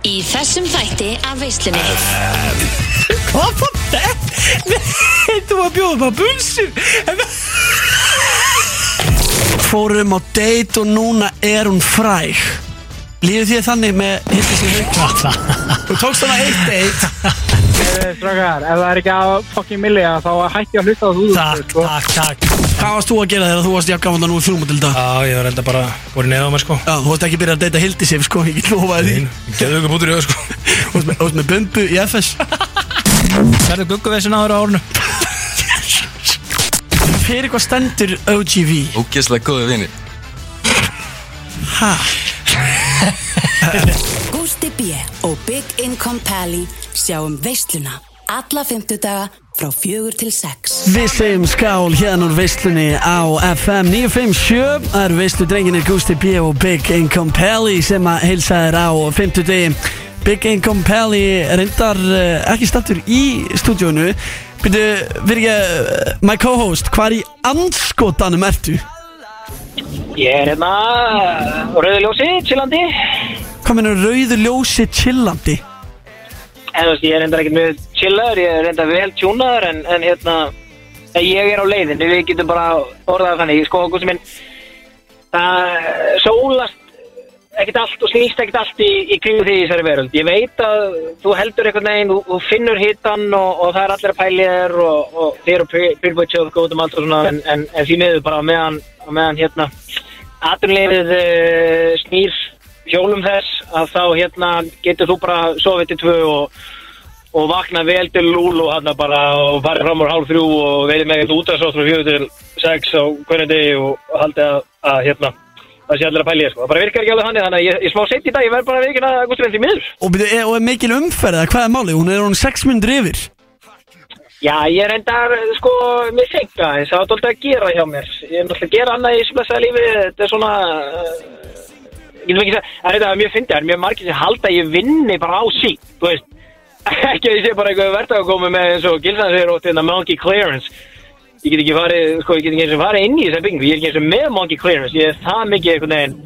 Í þessum þætti af veislunni Hvað var þetta? Þetta var að bjóða upp á bunsin Fórum um á date og núna er hún fræg Lífið því þannig með hittir sér hugsa Þú tókst hana eitt date Eh, Strákar, ef það er ekki að fokkin millja þá hætti ég að hlusta á sko. þú Takk, takk, takk Ah. Hvað varst þú að gera þegar þú varst jafn gaman að nú þrjum til dag? Já, ég var enda bara voru neða á mér sko Já, þú varst ekki byrjað að deyta hildi sér sko, ég get lofaði því Geðu ykkur bútur í öðu sko Þú varst með- þú varst með bumbu í FS Særðu gugguvessin áður á árnu Fyrir hvað stendur OGV? Ógeðslega góðu vinir Ha? Gústi B. og Big Income Pally sjáum veisluna alla fymtudaga frá fjögur til sex. Við segjum skál hérna úr veislunni á FM 957 Það eru veislu drenginir Gusti B. og Big Income Pally sem að heilsa þér á 50 degi Big Income Pally reyndar eh, ekki stattur í stúdíónu Byrju, fyrir ekki, eh, my co-host, hvað er í anskotanum ertu? Ég er hérna á Rauðu ljósi, chillandi Hvað mennur rauðu ljósi chillandi? En þú veist, ég er reyndar ekkert mjög chillaður Ég er reyndar vel tjúnaður en, en hérna en Ég er á leiðinu, við getum bara orðað þannig Sko, Gusti minn Það sólast ekkert allt og snýst ekkert allt í, í kringu því í þessari veröld Ég veit að þú heldur einhvern veginn Þú, þú finnur hitan og, og það er allir að pæli þér Og, og þér og pyrbútsjóð og góðum allt og svona En, en, en því miður bara á meðan, á meðan hérna Atunleifið uh, snýr hjólum þess að þá hérna getur þú bara sofið til tvö og, og vakna vel til lúl og hérna bara og farið fram úr hálf þrjú og veiði með eitthvað útræðsótt frá fjögur til sex á hvernig degi og haldið að, að hérna það sé allir að pæli ég sko. Það bara virkar ekki alveg þannig þannig að ég, ég smá seitt í dag, ég verð bara að veikina að Gústi Vendi miður. Og, byrju, er, og er mikil umferð, eða hvað er málið? Hún er hún 6 minnur yfir Já, ég reyndar sko mér seinka eins, það er alltaf að gera hjá mér. Ég er náttúrulega að gera annað í sumlessaða lífi, þetta er svona... Uh, ég veit ekki að það er þetta mjög fyndið, það er mjög margir sem halda að ég vinni bara á sík, þú veist. ekki að ég sé bara eitthvað verðt að koma með eins og Gilsan segir ótt þetta monkey clearance. Ég get ekki farið, sko, ég get ekki eins og farið inn í þessa byggingu, ég er ekki eins og með monkey clearance, ég er það mikið einhvern veginn,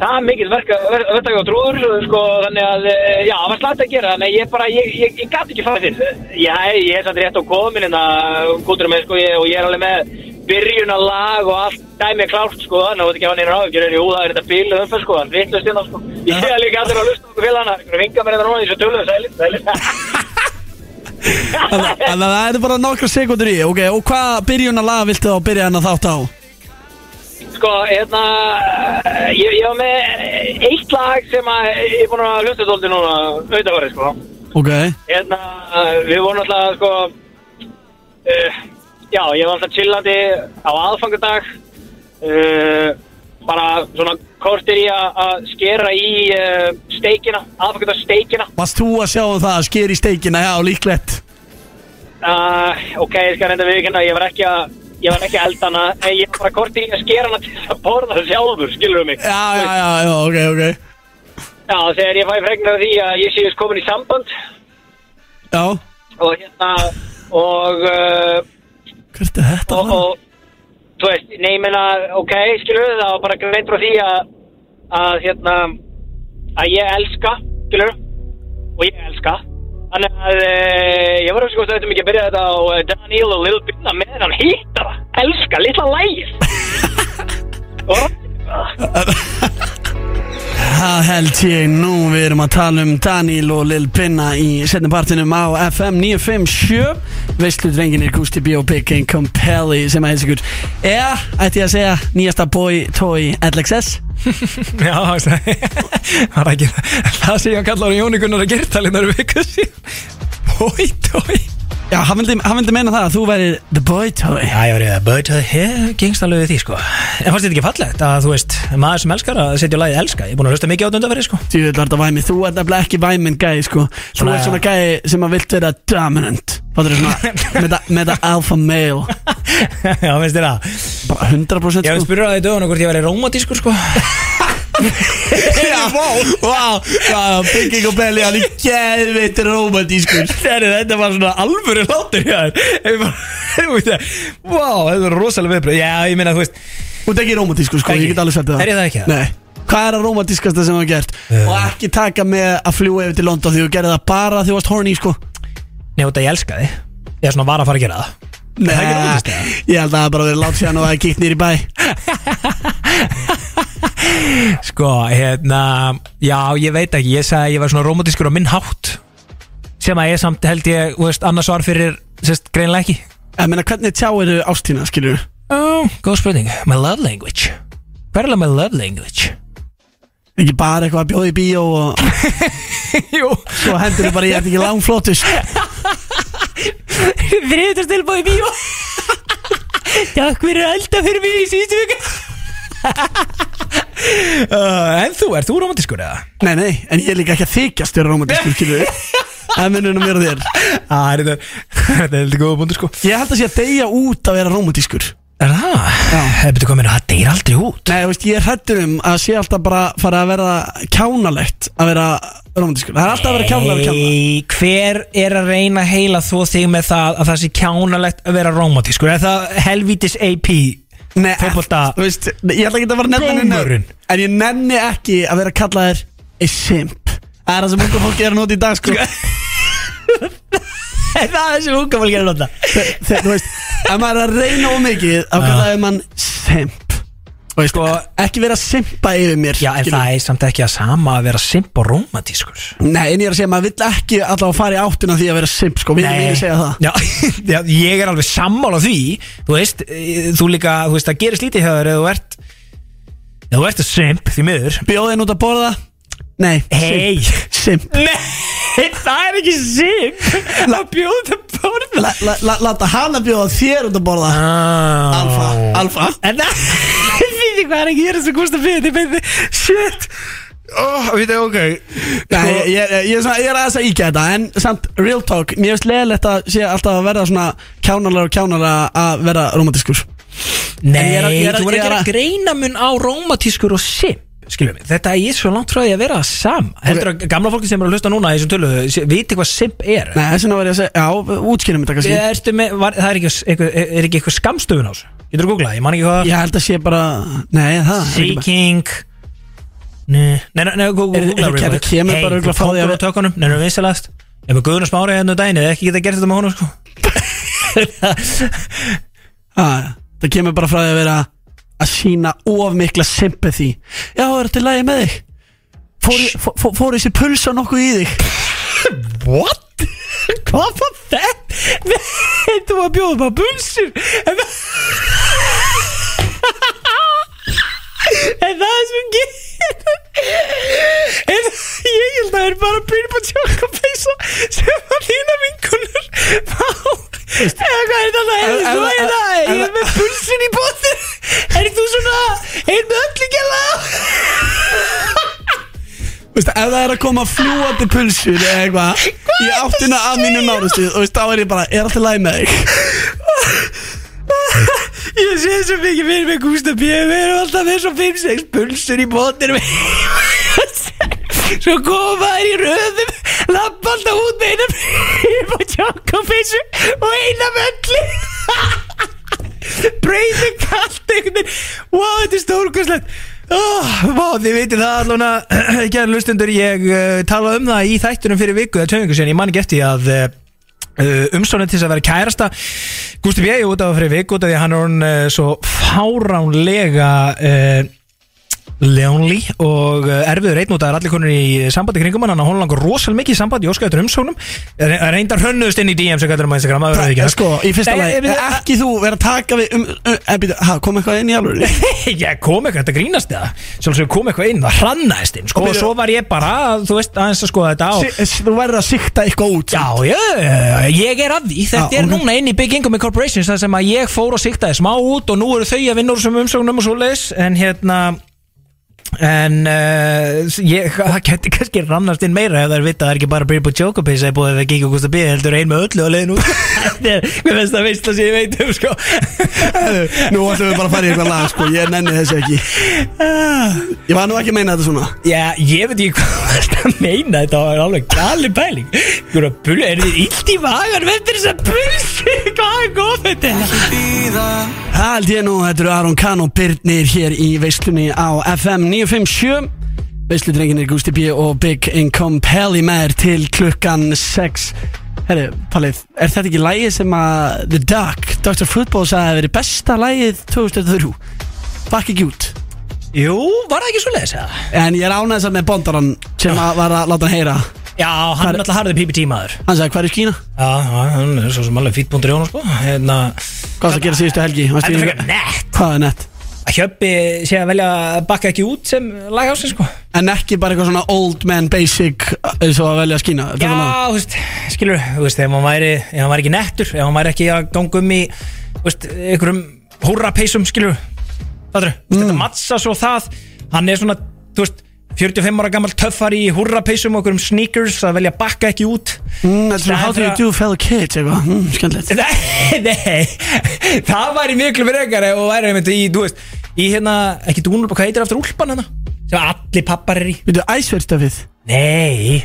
það mikið verka, ver, verka og trúður, sko, þannig að, eh, já, það var slætt að gera, þannig að ég bara, ég, ég, ég gat ekki farið þinn. Já, ég er samt rétt á komin en að, kútur með, sko, ég, og ég er alveg með byrjunar lag og allt dæmi klárt, sko, þannig að þú veit ekki hann einar áhyggjur, jú, það er þetta bíl, umferð, sko, hann vittlust inn á, sko, ég er líka allir að lusta okkur félagana, einhverju vinga mér þetta núna, ég hérna, svo tölum, sælir, sælir. Þannig þannig að það er bara nokkra sekundur í Ok, og hvað byrjunar laga viltu þá byrja hennar þátt á? Sko, hérna, ég, ég var með eitt lag sem að, ég er búin að hlusta svolítið núna, auðvitað sko. Ok Hérna, við vorum alltaf, sko, uh, já, ég var alltaf chillandi á aðfangadag, uh, bara svona kortir í að að skera í uh, steikina, aðfangadag steikina. Varst þú að sjá um það að sker í steikina, já, líklegt Uh, ok, ég skal reynda viðkynna, ég var ekki að, ég var ekki að elda hana, en ég var bara kortir í að skera hana til að borða sjálfur, skilur við mig. Já, já, já, já, ok, ok Já, þegar ég fæ fregnar af því að ég séist komin í samband Já, og hérna og, uh, hvert er þetta? og, og þú veist, nei, ég meina, ok, skilur við það og bara greint frá því að, að hérna, að ég elska, skilur og ég elska þannig að e, ég var ekki hvort að þetta mikið að byrja þetta á eh, Daniel og Lil Binna með hann hýttara, elska, litla lægir og Það held ég nú, við erum að tala um Daniel og Lil Pinna í setna partinum á FM 957 Veistlu drenginir Gusti B. og Big Income Pelli sem að heilsa ykkur Eða, ætti ég að segja, nýjasta boy toy LXS Já, það var ekki Það sem ég að kalla á Jóni Gunnar að gera talið Það eru vikuð síðan Bói, tói Já, hann vildi, hann vildi meina það að þú væri the boy toy Já, ég var í það Bói, tói, hef, gengst alveg við því sko En fannst þetta ekki fallegt að þú veist Maður sem elskar að setja lagið elska Ég er búin að hlusta mikið á þetta undanverið sko Þú ert þetta væmi, þú ert nefnilega ekki væminn gæi sko Þú Svona- ert svona gæi sem að vilt vera dominant Fattur þú svona, með það- með það alpha male Já, finnst þér það Bara 100% Ég hef sko spyrur að því dögun hvort ég væri rómatískur sko Já, vá, vá, vá, bygging og belli, hann er geðveitt romantískur Þeirri, þetta var svona alvöru látur hjá þér Ég bara, þú veist það Vá, þetta var rosalega viðbröð Já, ég meina, þú veist Þú ert ekki romantískur sko, Ekki. ég get alveg sagt það Er ég það ekki? Uh. Nei, Hvað er að romantískasta sem þú hefur gert Já. Og ekki taka með að fljúa yfir til London Því þú gerði það bara því þú varst horny sko Njóta ég elska þið Ég er svona var að fara að gera það Nei, það er ekki romantískt, eða? ég held að það hafi bara verið látt síðan og það er kíkt nýr í bæ Sko, hérna Já, ég veit ekki, ég sagði að ég var svona romantískur á minn hátt Sem að ég samt held ég, þú veist, annars var fyrir Sest, greinlega ekki Ég meina, hvernig tjáir þau ástína, skilur Ó, góð spurning My love language Hver er alveg my love language? Ekki bara eitthvað að bjóða í bíó og Jú, svo hendur þau bara, ég er ekki langflótus þriðutast tilbúið í bíó Takk fyrir alltaf fyrir mig í síðustu vika uh, En þú, ert þú romantískur eða? Nei, nei, en ég er líka ekki að þykjast vera romantískur, skilur Það er munurinn á mér og þér Ah, þetta þetta er heldur góða búndu sko Ég held að sé að deyja út að vera romantískur Er það? Já. Það betur hvað meina, það deyr aldrei út Nei, þú veist, ég er hrættur um að sé alltaf bara fara að vera kjánalegt að vera romantískur. Það er alltaf að vera kjánalega að kjána. Nei, hver er að reyna að heila þó þig með það að það sé kjánalegt að vera romantískur Er það helvítis AP? Nei, Fótbolta. þú veist, ég ætla ekki að fara að nefna neina- Gómurinn. En ég nenni ekki að vera kallaðir a simp. Það er það sem ungu fólki er að nota í dag, sko. Er það þessi unga fólk er að nota? Þe- þe- Þú veist, ef maður er að reyna of mikið, þá kallaði mann simp. Þú veist, Sko- ekki vera að simpa yfir mér. Já, en skilur. það er samt ekki að sama að vera simp og romantískur Nei, en ég er að segja, maður vill ekki alltaf að fara í áttina því að vera simp, sko. Við erum að segja það. já, já, ég er alveg sammála því Þú veist, eh, þú líka, þú veist, það gerist lítið hjá þér eða þú ert eða þú ert að simp, því miður Bjóðin út að borða? Nei, Hey. simp. Simp. Nei, það er ekki simp Það bjóða það borða La- la- la- Láta hana bjóða þér út að borða Alfa, alfa En það, við þið hvað er ekki, ég er þess að gústa fyrir Þið með þið, shit Oh, við þið, ok Sko- Nei, ég, ég, ég, er svona- ég er aðeins að íkja þetta En samt, real talk, mér finnst leðilegt að sé alltaf að verða svona kjánalega og kjánalega að vera romantiskur Nei, ég er að- ég er þú að- voru ég ekki er að að- greina mun á rómatískur og simp Skiljum við, þetta er svo langt frá því að vera það sam Heldur að gamla fólki sem eru að hlusta núna í þessum tölu sé- viti hvað simp er Nei, þess vegna var ég að segja, já, útskýrum þetta kannski Ertu með, var, það er ekki, eitthvað- er ekki eitthvað skamstöfun á þessu Getur þú googlað, ég man ekki hvað Ég held að sé bara, nei, það er ekki bara- Seeking Nei, nei, nei, nei, Er- er- googlað er- kemur bara örugglega frá því að- að á tökunum, nei, nei, vinsalast Ég með Guðnars Mári hérna um daginn, eða ekki geta gert þetta með honum sko Ah, já. Það kemur bara frá því að vera að sína of mikla sympathy Já, er þetta í lagi með þig? Fór, í- fó- fó- fór þessi pulsa nokkuð í þig? What? Hvað var þetta? Þú var að bjóða bara bulsur En það En það er sem gerir En ég held að það er bara Byrjum að tjóka peysa Sem að þína vinkunur Vá Eða hvað er þetta? Er Ef- þú ef- hérna? ef- Ég er með pulsin í bóttir Er þú svona Er með öllu gæla? Veistu, ef það er að koma fljúandi pulsur eða eitthvað í áttina að mínu nánustu og veist, þá er ég bara, er alltaf læg með þig Ég sé svo mikið fyrir mig Gústa B Við erum alltaf með svo 5-6 pulsur í bóttinum Svo koma þær í röðum Lappa alltaf út með einum Upp á tjókofissu Og einam öllu Breyðu kallt einhvern veginn Vá, þetta er stórkostlegt Oh, vá, þið veitir það allavega ekki að lustundur, ég uh, talaði um það í þættunum fyrir viku eða tveimvíku síðan, ég man ekki eftir því að uh, uh, umsóknin til þess að vera kærasta Gústi B. út af fyrir vik út af því að hann er hún uh, svo fáránlega uh, Leonly og uh, erfiður einn út að það er allir konur í sambandi kringum hann hann hún langar rosal mikið í sambandi, ég óska eftir umsóknum Re- reyndar hönnuðust inn í DM sem kallar um Instagram, það verður ekki hægt. Sko, í fyrsta Nei, lagi, er- er- ekki þú vera að taka við um, um, en býta, ha, kom eitthvað inn í alvöru Ég kom eitthvað, þetta grínast það Sjálfsög kom eitthvað inn, það hrannaðist inn sko, Og og byrju- svo var ég bara, þú veist, aðeins að skoða þetta á Sí- s- Þú verður að sikta eitthvað út Já, já, já, ég er að því Þetta Já, er Ah, ok. núna inn í Big Income Corporations Það sem að ég fór og siktaði smá út Og nú eru þau að vinna úr þessum umsóknum og svo leis En hérna En uh, ég, það geti kannski rannast inn meira ef það er vita að það er ekki bara Byrja búið tjókupis eða búið að það gíkja gúst að bíða heldur ein með öllu á leiðin út Þetta er mér finnst það veist að sé ég veit um sko Nú ætlum við bara að fara í eitthvað lag, sko, ég nenni þessu ekki Ah. Ég var nú ekki að meina þetta svona Já, ég veit ekki hvað það er að meina Þetta var alveg gali pæling Þú eru að bulla, er þið illt í vagan Vett er þess að bulsi, hvað er góð þetta er? Það held ég nú, þetta eru Aron Kahn og Birnir hér í veislunni á FM 957 Veisludrenginir Gusti B og Big Income Pelli með þér til klukkan 6 Herri, Pallið, er þetta ekki lægið sem að The Duck, Dr. Football sagði að það verið besta lægið 2003 Bakk ekki út Jú, var það ekki svo leiðis eða? En ég er ánægð samt með bondaran sem að var að láta hann heyra Hann Já, hann er alltaf harðið PPT maður sagði, hvað er skína? Já, hann er svo sem alveg fýtbúndur í honum sko Hérna Hvað er það að gera síðustu helgi? Varstu Þetta er í- frekar nett Hvað er nett? Að Hjöppi sé að velja að bakka ekki út sem lag ásins sko En ekki bara eitthvað svona old man basic uh, eins og að velja að skína Já, þú veist, skilur, þú veist, ef hann væri, ef hann væri ekki nettur Ef hann væri ekki að ganga um í, þú veist, einhverjum húrrapeysum, skilur Þáttur, mm. þetta mattsa svo það Hann er svona, þú veist, 45 ára gammal töffar í húrrapeysum og einhverjum sneakers að velja að bakka ekki út Mm, þetta er svona Staðar How do you þegar- do fellow kids eitthvað mm, Skemmtilegt Nei, nei, það væri miklu frekar og væri einmitt í, þú veist, í hérna, ekki dúnur, hvað heitir aftur úlpan hérna? Sem allir pappar er í. Við þú æsverðstöfið Nei,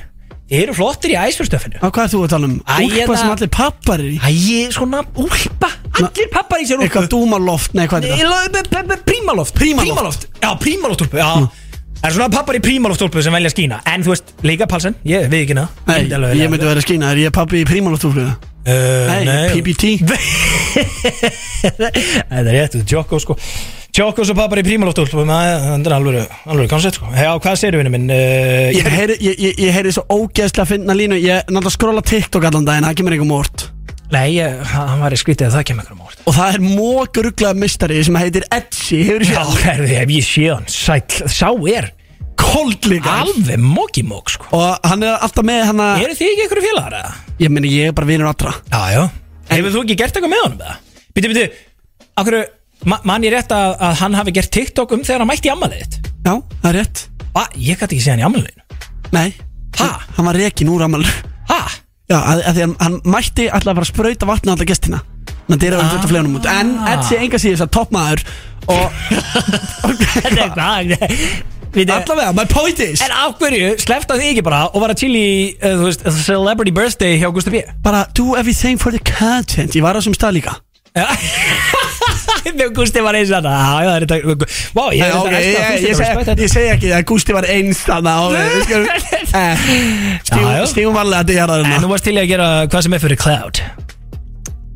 þið eru flottir í æsfjörstöfinu. Á hvað ert þú að tala um? Æ, Úlpa hérna- sem allir pappar er í Æ, svona úlpa, allir pappar í sér úlpu. Eitthvað dúmaloft, nei hvað er þetta? Lo- b- b- b- Prímaloft Mm. Prímaloft. Já, prímaloft úlpu, já Það er svona pappar í prímaloft úlpu sem velja að skína En þú veist, líka palsen, ég við ekki það Myndi Nei, alveg ég velja. myndi vera að skína, er ég pappi í prímaloftúfluga? Uh, Nei, PBT Þetta er rétt, Djokko sko Djokko svo pappar í prímaloft úlpu Það er alveg, alveg kannsett sko Já, hvað segir vinnu minn? Uh, Ég heyri, ég, ég, ég heyri svo ógeðslega fyndna línu Ég náttúrulega skrolla TikTok allan daginn, það kemur einhver mort Nei, ég, hann var í skrítið að það kemur einhverjum ár Og það er mókuruglega mistari sem heitir Edgy Hefur Já, séð herði, ef ég sé hann Sæll, sá er kold líka Alveg mokimók sko Og hann er alltaf með hann að Eru þið ekki einhverju félagar eða? Ég meina ég er bara vinur allra Já, já Hefur þú ekki gert eitthvað með honum með það? Býtu, býtu, okkur ma mann ég rétt að, að hann hafi gert TikTok um þegar hann mætti í ammælið þitt Já, það er rétt Hva? Ég gæti ekki séð hann í ammæliðinu Nei, Ha? hann var rekin úr amal Ha? Já, að, að því hann, hann mætti alltaf bara að sprauta vatni alltaf gestina Þannig að dyrra hann Ah. fullt af flegunum út En Edsi enga síður þess að toppmaður Og Hvað? Býtu, Allavega, my point is en af hverju slefta þið ekki bara og var að til í, uh, þú veist, celebrity birthday hjá Gustaf B Bara do everything for the content Ég var á sem stað líka Já. Þegar Gustaf var eins og þetta Já, já, það er þetta Vá, ég er þetta segi ekki að Gústi var einstanna Já, já. Eh, Stífum varlega að dyrra En þarna þú varst til í að gera hvað sem er fyrir cloud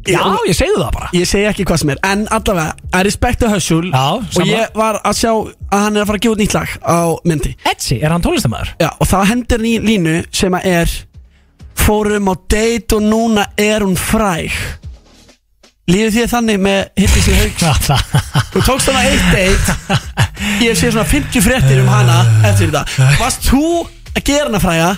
Já, ég segði það bara Ég segi ekki hvað sem er En allavega, I respect the hustle Já, Og sammála. ég var að sjá að hann er að fara að gefa út nýtt lag á myndi Etsy, er hann tónlistamæður? Já, og það hendur hann í línu sem að er Fórum á date og núna er hún fræg Líður því þannig með hittis í haug Þú tókst hana eitt date Ég sé svona 50 fréttir um hana eftir þetta Varst þú að gera hana fræga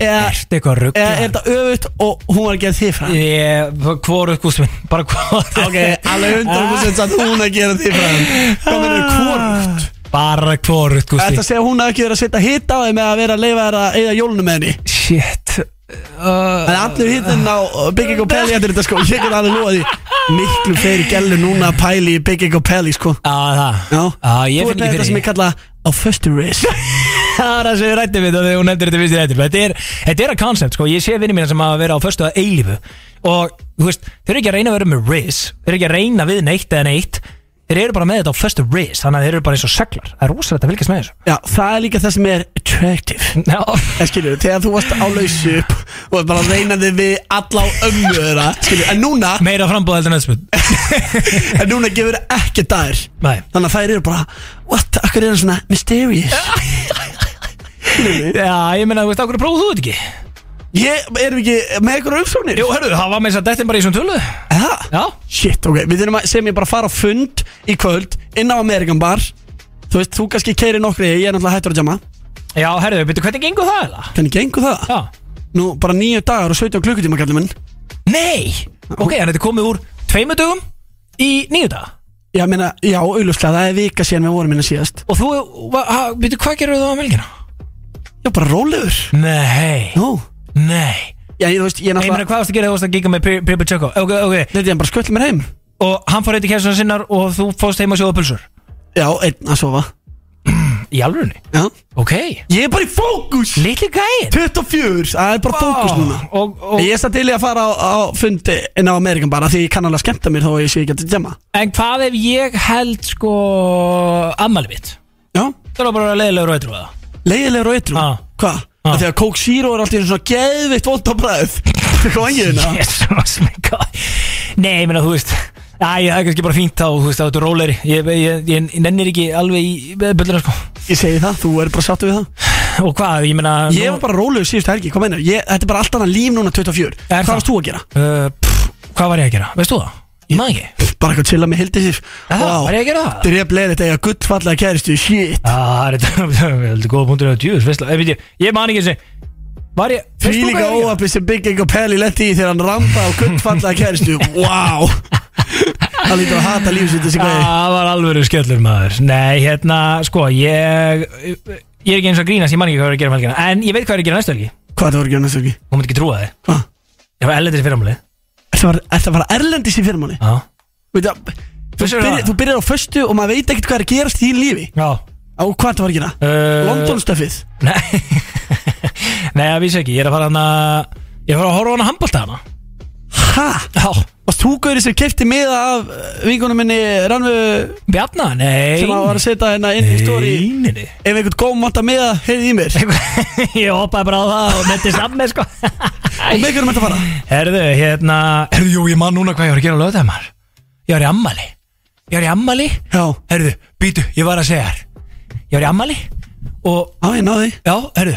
Eða Ertu eitthvað eða Eh, er ruggla? þetta öfutt og hún var að gera þig fræga Ég, hvoru gúsminn, bara hvoru Ok, alveg 100% að hún að gera þig fræga Hvað verður hvorugt Bara hvoru Þetta gúsminn segja að hún hafi ekki verið að setja hitt á þeim með að vera að leifa þér að eigða jólunum með henni Shit Það er allir hittinn á uh, Bygging og Peli eftir þetta sko Ég get alveg lúa því Miklu fleiri gælu núna að pæli í Bygging og Peli sko Já, það Já Já, Ah, ég Þú finn ert með ekki þetta sem fyrir ég kalla Á föstu ris Það er það sem við rættum við og þegar hún nefndir þetta fyrst í rættum Þetta er, þetta er að concept, sko, ég sé vinni mína sem hafa verið á föstu að eilífu Og, þú veist, þeir eru ekki að reyna að vera með ris Þeir eru ekki að reyna við neitt eða neitt Þeir eru bara með þetta á föstu ris Þannig að þeir eru bara eins og seglar Það er rosalegt að fylgjast með þessu Já, það er líka það sem er attractive Já, En skilur, þegar þú varst á lausu upp Og varst bara reynaði við alla á ömmu þeirra Skilur, en núna meira frambúð heldur nöðsmund En núna gefur ekki dær Nei. Þannig að þær eru bara What, akkur er það svona mysterious Já, ég meina, þú veist, okkur prófðu þú þetta ekki Ég, erum við ekki með einhverjum umsóknir? Jú, hörru, það var með þess að dettin bara í svona tölu Ha? Já Shit, ok, við þurfum að sem ég bara að fara á fund í kvöld inn á Amerikan bar Þú veist, þú kannski keiri nokkri, ég er náttúrulega hættur að jamma Já, herru, betur hvernig gengur það eða? Hvernig gengur það? Já Nú, bara níu dagar og 17 klukkutíma, kallið minn Nei Ok, hann þetta komið úr tveimu dögum í nýju dag Ég meina, já, auðlustlega, það er vika síðan við vorum minna síðast Og þú, betur hvað gerur þú á melgina? Já, bara rólegur Nei Nú, Nei já, ég, þú veist, ég er Ég meina, náttúrulega hvað varst að gera þú varst að giga með Pri- Pri- Pri- Choco Ok, ok Þetta er bara skull mér heim Og hann fór eitt í kærsuna sinnar og þú fóst heima að sjóða pulsur Já, einn að sofa Í alvörunni? Já. Ok Ég er bara í fókus Lilli gæinn 24, það er bara fókus núna og, og, Ég er það til í að fara á, á fundi inn á Amerikan bara því ég kann alveg að skemmta mér þó að ég sé ekki að djama En hvað ef ég held sko Ammali mitt Já, Það var bara leiðilega rauður á það leiðilegur og ytrú Ah. Hvað? Ah. Ah. Þegar Coke Zero er alltaf einu svona geðvitt vond á bræð Hvað vangið hérna? Jesus oh my god Nei, ég meina, þú veist Æ, það er kannski bara fínt þá, þú veist, þá ertu róleri Ég, ég, ég, ég nennir ekki alveg í böllina, sko Ég segi það, þú er bara sáttu við það Og hvað, ég meina Ég var bara rólegur síðustu helgi, hvað meinar? Ég, þetta er bara allt annað líf núna 24 Er Hvað það? varst þú að gera? uh, pff, Hvað var ég að gera? Veist þú það? Ég maður ekki Pff, Bara eitthvað chilla með hildi sér Það var ég að gera það Dref leiðið eiga gullfallega kæristu, shit Já, Ah, Það er þetta, heldur góða punktur á djúðus, veist það Eh, Ég, ég maður ekki þessi Var ég, veist Því þú hvað líka ég var að óafið sem Big Eng og Pelli letti í þegar hann ramba á gullfallega kæristu Wow Hann lítur að hata lífið sitt þessi gera? Já, gæði Ah, Það var alvöru skellur maður Nei, hérna, sko, ég Ég er ekki eins og að grínast, ég maður ekki hvað ég var að gera um helgina En ég veit hvað ég er að gera næstu helgi Hvað það voru ekki annars ekki? Hún myndi ekki trúa þig Hvað? Ég var ellendis fyrirmáli Ertu að fara- ertu að fara erlendis í fyrrmáli? Já Veit það, þú, Vissirðu byrjar, það? þú byrjar á föstu og maður veit ekkert hvað er að gerast í þín lífi Já Á hvað það var ekki það? uh, London stuffið Nei Nei, það vissi ekki Ég er að fara hana Ég er að fara að horfa á hana handbalta hana Ha? Já Varst þú gaurið sem kefti miða af vingunum minni Rannu Bjarna, nei sem að var að setja hérna inn í stóri Nei, nei, Ef einhvern góðum vantar miða, heyrði í mér nei Ég hoppaði bara á það og netti saman sko Og með hverjum þetta fara? Herðu, hérna Herðu, jú, ég man núna hvað ég var að gera lögðað maður Ég var í ammali Ég var í ammali Já, Herðu, býtu, ég var að segja þér Ég var í ammali Og, á ég náði já, herðu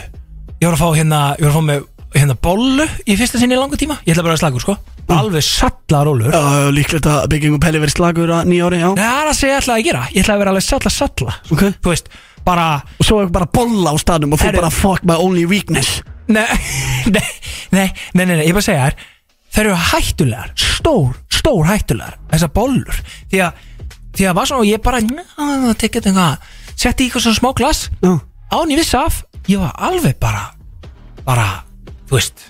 Ég var að fá hérna Ég var að fá með hérna bollu Í fyrsta sinni í langa tíma Ég ætla bara að slagur, sko Alveg salla rólur Já, líklegt að Bygging og Pelli verið slagur að nýja ári, já Nei, það er að segja ég ætlaði að gera Ég ætlaði að vera alveg salla salla Ok Þú veist, bara Og svo er bara bolla á staðnum og þú Herru. bara fuck my only weakness Nei, nei, nei, nei, nei, nei Ég bara segja þær Þær eru hættulegar Stór, stór hættulegar Þessar bollur Því að Því að var svona og Ég bara njá, Tekið eitthvað Setti í eitthvað svona smá glas Já, Án ég vissi af Ég var alveg bara Bara Þú veist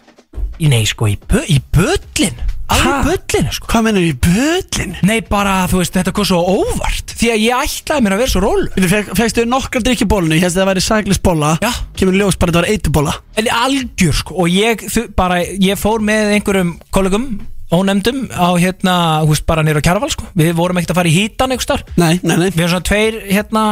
Í nei, sko Í, bö, í böllin Ha? Alveg í böllinu, sko hvað mennur í böllin? Nei, bara, þú veist Þetta kom svo óvart Því að ég ætlaði mér að vera svo rólur Fegstu nokkar drikki bólinu, ég hefst að það væri sæklis bolla Já. Kemur í ljós bara að þetta var eitubóla En algjör sko og ég þu, bara, ég fór með einhverjum kollegum ónefndum á hérna hús bara nýra kjarval sko, við vorum ekkert að fara í hítan einhvers þar, Nei, nei, nei, við erum svona tveir hérna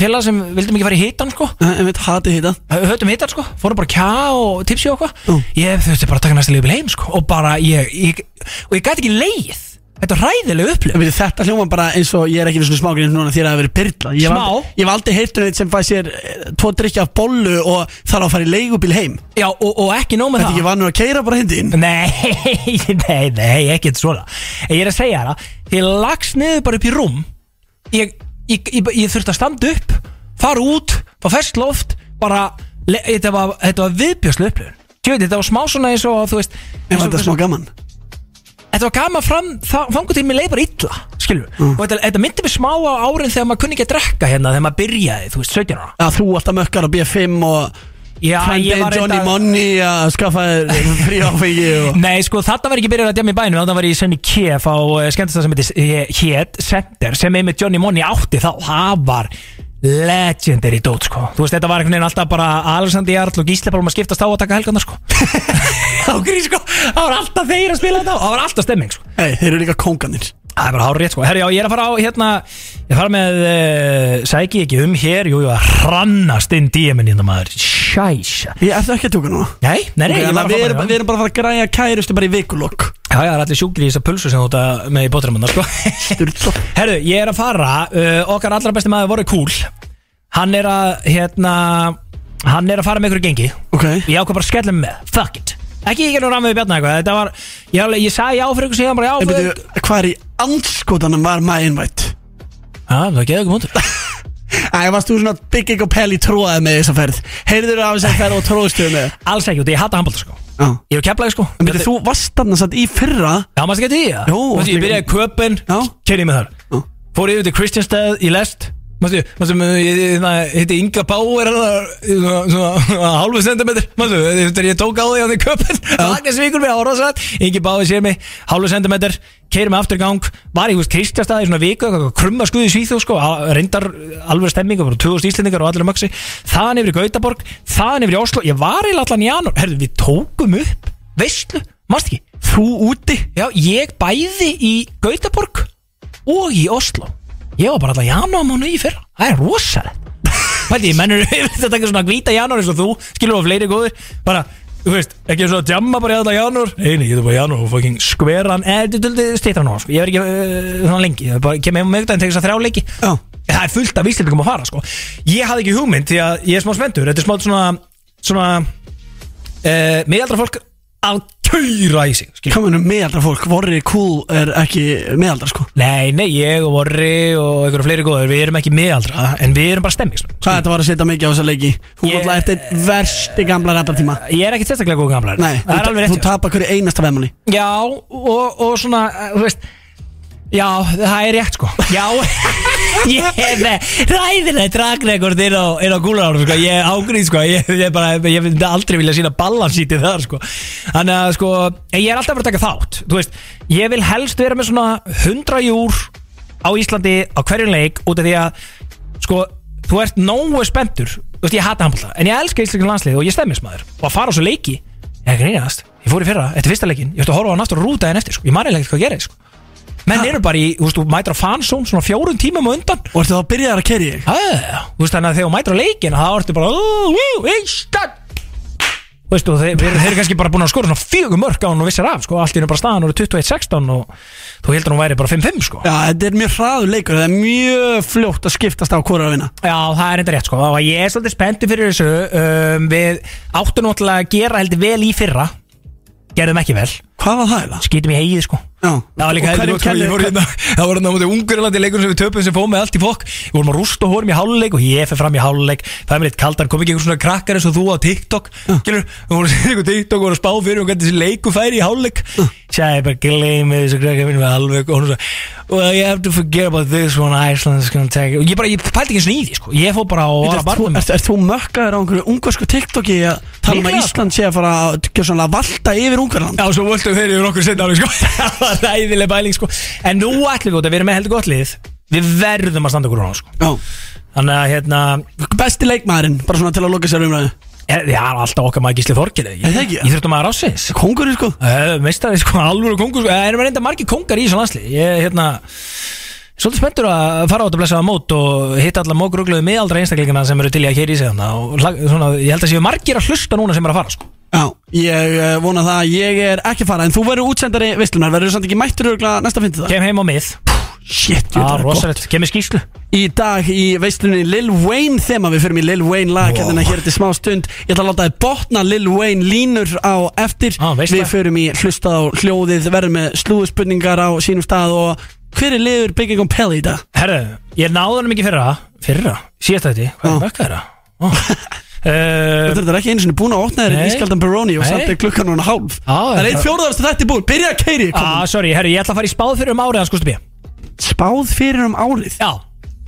félag sem vildum ekki fara í hítan sko Nei, en við hati hýta höfðum hítan sko, fórum bara kjá og tipsi og Jú. eitthvað, ég þurfti bara að taka næsta liðbíl heim sko og bara ég, ég og ég gæti ekki leið, þetta er ræðilega upplif Þetta hljóma bara eins og ég er ekki einu svona smágrinn núna því að það hefur verið byrla Ég hef Smá? aldrei- Ég hef aldrei heyrt um eitt sem fæ sér eh, tvo drikki af bollu og þarf að fara í leigubíl heim já og, og ekki nóg með Þetta það ekki vanur að keira bara hindi inn Nei, nei, nei, ekkert svona En Ég er að segja það Ég lagst niður bara upp í rúm Ég, ég, ég, ég þurfti að standa upp Fara út, fá fersk loft Bara, le, þetta var, þetta var viðbjörslu upplifun Tjóði, þetta var smá svona eins og þú veist En eins og- þetta er smá gaman Þetta var gaman fram, þangur til mér leið bara illa Skilur, Mm. og þetta, þetta myndi mig smá á árin Þegar maður kunni ekki að drekka hérna Þegar maður byrjaði, þú veist, 17 ára að þú alltaf mökkar á B5 og Já, frændið ég var Johnny reyndar- Money að skaffa þér frí áfengi og... Nei, sko, þarna var ég ekki byrjað að djama í bænum Þarna var ég í senni KF á uh, skemmtastað sem heitir Hét Center sem einmitt Johnny Money átti þá Það var legendary dót, sko Þú veist, þetta var einhvern veginn alltaf bara Alexander Jarl og Gísli Pálma skiptast á að taka helgarna, sko Á grín, sko Það var alltaf þeir að spila þetta og Það var alltaf stemming, sko Nei, þeir eru líka kónganir Það er bara hár rétt, sko Herri, já, ég er að fara á, hérna Ég fara með, uh, sæki ekki um hér Jú, jú, að hrannast inn DM-in hérna, maður Sjæsja Ég ætla ekki að tóka núna Nei, nei, nei, ég var að fá við, erum, bara- hérna. við erum bara að fara að græja kærustu bara í vikulokk Já, já, það er allir sjúkri í þessar pulsu sem þú ert að með í bótturamanna, sko Sturla Herru, ég er að fara uh, Okkar allra besti maður voru kúl Hann er að, hérna Hann er að fara með ykkur í gengi Ok Ég ákvað bara að skella mig með, fuck it Ekki ég er nú ramið við bjarnar eitthvað Þetta var, ég, alveg- ég sagði já fyrir ykkur síðan bara já En fyrir byrju, hvað er í andskotanum var maður innvætt? Já, það geði ykkur mútur Æ, varst þú svona big egg og pelli tróðað með þessa ferð Heyrður af þessa ferð og tróðstuðu með Alls ekki, út, ég hata handbólta sko Já Ég er keflaði sko En byrju, þú varst þarna satt í fyrra Já, maður skætti í það Jó, Þú veist, Ég allt í byrjaði í köpinn, Já. kerið með þar Já. Fór yfir til Kristjánstæð í lest Mastu, mastu, ég, ég, ég heiti Inga Bauer þarna, svona, svona hálfu sentimetr Mastu, þegar ég tók á því á því köpun Agnes Víkur með áraðsrætt Ingi Bauer sér mig, hálfu sentimetr Keirir mig aftur í gang, var í hús Kristjastæði svona viku, krumma skuði í Svíþjóð sko, á- reyndar alveg stemmingu, bara 2000 íslendingar og allir um öksi, þaðan yfir í Gautaborg þaðan yfir í Oslo, ég var í allan í janúar herðu, við tókum upp, veistlu mást ekki, þú úti já, ég bæði í Gautaborg og í Oslo ég var bara alltaf janúarmánu í fyrra það er rosalegt Pældi, menn eru yfirleitt að taka svona hvita janúar eins og þú skilur á fleiri góðir bara, þú veist, ekki svona djamma bara í alltaf janúar eini, ég er bara janúar og fucking skveran eh, eða þú tuldi stýttra nú sko. ég er ekki uh, svona lengi, ég er bara kemur heim á mögdæðin tekið þess að þrjá leiki Já. það er fullt af víslendingum að fara sko. ég hafði ekki hugmynd því að ég er smá spendur þetta er smá svona, svona uh, miðaldra fólk að kæra í sig skilur. Kominu meðaldra fólk, um vorri cool er ekki meðaldra sko Nei, nei, ég og Vorri og einhverju fleiri góður, við erum ekki miðaldra en við erum bara sko. stemmingsmenn. Hvað þetta var að setja mikið á þessa leiki? Þú Ég- yeah. alltaf eftir versti gamla rattatíma Ég er ekki sérstaklega góð gamlar. Nei, það er þú- alveg þú rétt. tapar hverju einasta veðmáli já. Já, og, og svona, eh, þú veist, já, það er rétt sko. Já, ég er með ræðilega dragrekord inn á, inn á gúlarárum sko, ég er ágríð sko, ég, ég, bara, ég myndi aldrei vilja sína ballansítið þar sko. Þannig að sko, en ég er alltaf að fara að taka þátt, þú veist, ég vil helst vera með svona 100 júr á Íslandi á hverjum leik út af því að sko, þú ert nógu spenntur þú veist, ég hata handbólta, en ég elska íslenskun landslið og ég stemmis maður, og að fara á svo leiki ég er grínast, ég fór í fyrra, þetta er fyrsta leikin ég ætti að horfa á hann aftur og rúta henn eftir, sko. ég man eiginlega ekkert hvað gerði sko. menn eru bara í, þú veist, þú mætir á fansón svona fjórum tímum á undan Og ertu þá að byrja að kerja þig? Æ, þú veist, þannig að þegar þú mætir á leikin þá ertu bara, "Ú, ú, Ísland Veistu, þeir, þeir, þeir eru kannski bara búin að skora svona fjögur mörg á hann og vissir af, sko, allt í hennu bara staðan og 21-16 og þú heldur hún væri bara 5-5, sko Já, þetta er mjög hraður leikur, það er mjög fljótt að skiptast á hvora að vinna Já, það er enda rétt sko og ég er svolítið spenntur fyrir þessu um, við áttum náttúrulega að gera heldur vel í fyrra gerðum ekki vel, Hvað var það eða? skýtum í eigið sko Já, Það var líka Og heldur hverjum gott, sko, ég fór kenni- hérna- Það var hérna á móti Ungurlandi leikur sem við töpum sem fóð með allt í fokk Við vorum að rústa hórum í háluleik og ég fer fram í háluleik Það er mér eitt kaldar, kom ekki einhver svona krakkar eins og þú á TikTok Gilur, þú voru að segja einhver TikTok og voru að spá fyrir um hvernig þessi leiku færi í háluleik Sæði bara gleymið þessu krakkar minn með alveg og hún svo Well, you have to forget about this one Iceland is gonna take it." Og ég bara, ég pældi ekki svona í því sko Ég fór bara Bíddu, og var að ert þú- barna Ert ert þú mökkaður á einhverju ungarsku TikToki að tala um að Líklega. Ísland sé að fara að gjörsamlega valta yfir Ungarland? Já, svo völdum þeir yfir okkur setna alveg sko Það var ræðileg bæling sko En nú ætlum við út að við erum með heldur gott lið Við verðum að standa okkur á sko Já. Þannig að hérna Besti leikmaðurinn, bara svona til að loka sér umræðu er- Já, alltaf okkar maður gísli Þorkil Er það ekki? Ég þurftum maður ásins Kongurinn sko Meistari sko, alvöru kongur sko Það erum reynda margir kongar í þessu landsli Ég hérna Svolítið spenntur að fara át að blessa það mót og hitta alla mógrugluðu miðaldra einstaklingina sem eru til í að hér í sig þarna og hla- svona, ég held að séu margir að hlusta núna sem eru að fara sko. Já, ég eh, vona það að ég er ekki að fara En þú verður útsendari veislunar, verður samt ekki mættur örgulega næsta fyndi það Kem heim á mið, Shit, ég Já, þetta er gott rosalegt, kem í skýslu Í dag í veislunni Lil Wayne þema Við fyrir í Lil Wayne lag Wow. hérna hér til smá stund Ég ætla að láta þið botna Lil Wayne línur á eftir Á, veisla. Við fyrir í hlustað á hljóðið Verðum með slúðspurningar á sínum stað Og hver er liður Big Egom Pelli í dag? Herru, ég náði hann mikið fyrra Fyrra, síðast þetta, hvað Já. er mökka þeirra? Ó. Eh, Þetta er ekki einu sinni búin að opna þér Nei. Ískaldan Baroni og Nei. samt er klukkan hún hálf Já, Það er já. eitt fjóruðarstu þetta er búin, byrja að keiri Ah, sorry, herru, ég ætla að fara í spáð fyrir um árið, sko stupið Spáð fyrir um árið Já,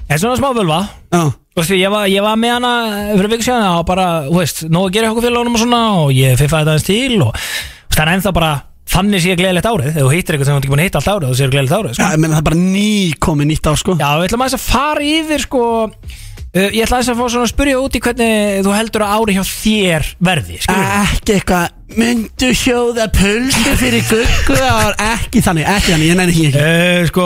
en svona smá völva Já, Þú veist, ég var, ég var með hana fyrir viku síðan og bara, þú veist, nóg að gera okkur félagunum og svona og ég fiffaði þetta aðeins til og þú veist, það er ennþá bara, þannig sé ég gleðilegt árið þegar þú hittir eitthvað sem þú ert ekki búin að hitta allt árið þú séu gleðilegt árið, Já, sko. ég meina það er bara ný komið nýtt ár sko Já, við ætlum aðeins að fara yfir, sko uh, ég ætla aðeins að fá svona að spyrja út í hvernig þú heldur að árið hjá þér verði, skilur Ekki eitthvað Myndu sjóða pulsu fyrir guggu ár Ekki þannig, ekki þannig, ég nenni því ekki Uh, sko,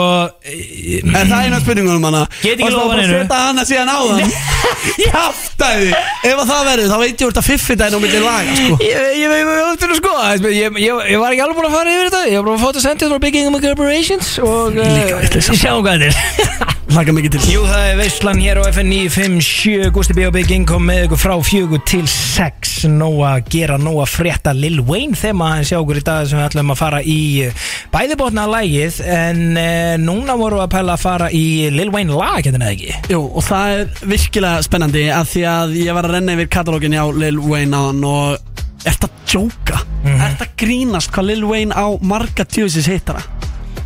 eh, Er það eina spurningunum hana? Get ekki Varstu lofað að bara neinu. setja hana síðan á þann Kjáftæði Ef að það verður, þá veit ég úr þetta fiffidæn og millir laga sko Ég, ég, ég, ég, áttur að skoða þetta, ég, ég, ég var ekki alveg búin að fara yfir þetta Ég var búin að fá þetta sendið frá Big Ingum Corporations Og Líka vitleysa. uh, sjáum hvað þetta er Laka mikið til Jú, það er veistlan hér á FN 957 Gusti B.O.B. Gingkom með ykkur frá fjögur til sex Nó að gera, nó að frétta Lil Wayne Þeim að sjá okkur í dag sem við ætlum að fara í eh, Bæðibotna lægið En uh, núna vorum við að pæla að fara í Lil Wayne lag, hérna eða ekki Jú, og það er virkilega spennandi að því að ég var að renna yfir katalóginni á Lil Wayne á hann og ert að djóka, ert að grínast hvað Lil Wayne á marga tjóðsins hittara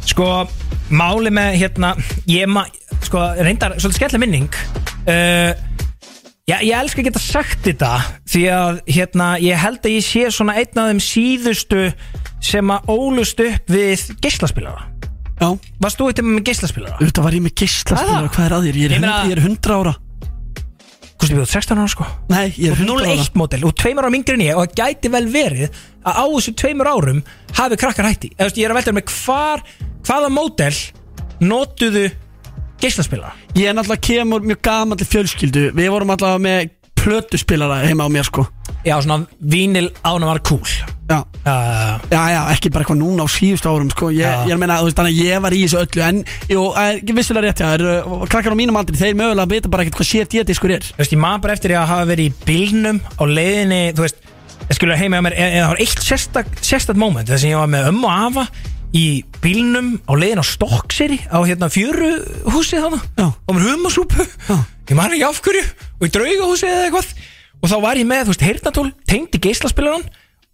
Sko, máli með hérna Ég ma, sko, reyndar svolítið skemmtileg minning uh, Já, ég elska að geta sagt þetta því að hérna, ég held að ég sé svona einn af þeim síðustu sem að ólust upp við geislaspilara Já, Varst þú eitthvað með geislaspilara? auðvitað var ég með geislaspilara, Hvað? hvað er að þér? Ég er, Ég hund, meina- ég er 100 ára Hvort ég bjóð 16 ára sko Nei, ég er 100 ára 01 mótel og tveimur ára yngri en ég og það gæti vel verið að á þessu tveimur árum hafi krakkar hætti Eða, þú veist, ég er að velta með hvar, hvaða mótel notuðu geislaspilara Ég er náttúrulega kemur mjög gaman til fjölskyldu Við vorum allavega með plötuspilara heima á mér sko Já, svona vínil ánum var cool Já, uh, já, já ekki bara eitthvað núna á síðustu árum sko Ég, Já. ég er að meina, þú veist, þannig að ég var í þessu öllu En, jú, eh, vissulega rétt, já, er, eh, krakkar á mínum aldri Þeir mögulega vita bara ekkert hvað CD-diskur er Þú veist, ég maður bara eftir ég að hafa verið í bílnum á leiðinni, þú veist, ég skilur heima hjá mér, en en það var eitt sérstak, sérstak moment þess að ég var með ömmu og afa í bílnum á leiðin á Stokkseri á hérna fjöru húsið þarna Já. og mér humasúpu, ég maður ekki af hverju og í draugahúsið eða eitthvað og þá var ég með, þú veist, heyrnatól, tengdi geislaspilaran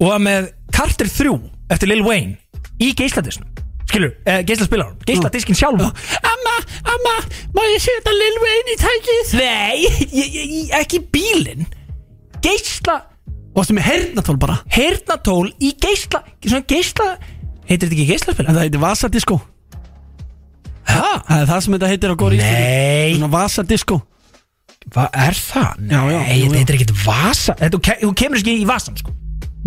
og var með Carter 3 eftir Lil Wayne í geisladisnum skilur, eh, geislaspilaran, geisladiskin sjálfa Amma, amma, má ég setja Lil Wayne í tækið? Nei, ég, ég, ég, ekki bílinn geisla Og það með hernatól bara heyrnatól í geisla svona geisla, heitir þetta ekki En geislaspila? það heitir Vasadisko Hæ? Það er það sem þetta heitir á góri Nei, Svona Vasadisko hvað er það? Nei, Já, já, jú, þetta já. heitir ekkert vasa þetta, þú ke- Þú kemur ekki í vasan sko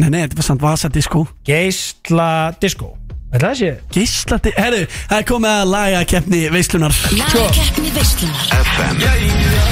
Nei, nei, þetta var samt Vasadisko Geisla disco Þetta sé Gíslati, herru, það er komið að lagakeppni veislunar Lagakeppni veislunar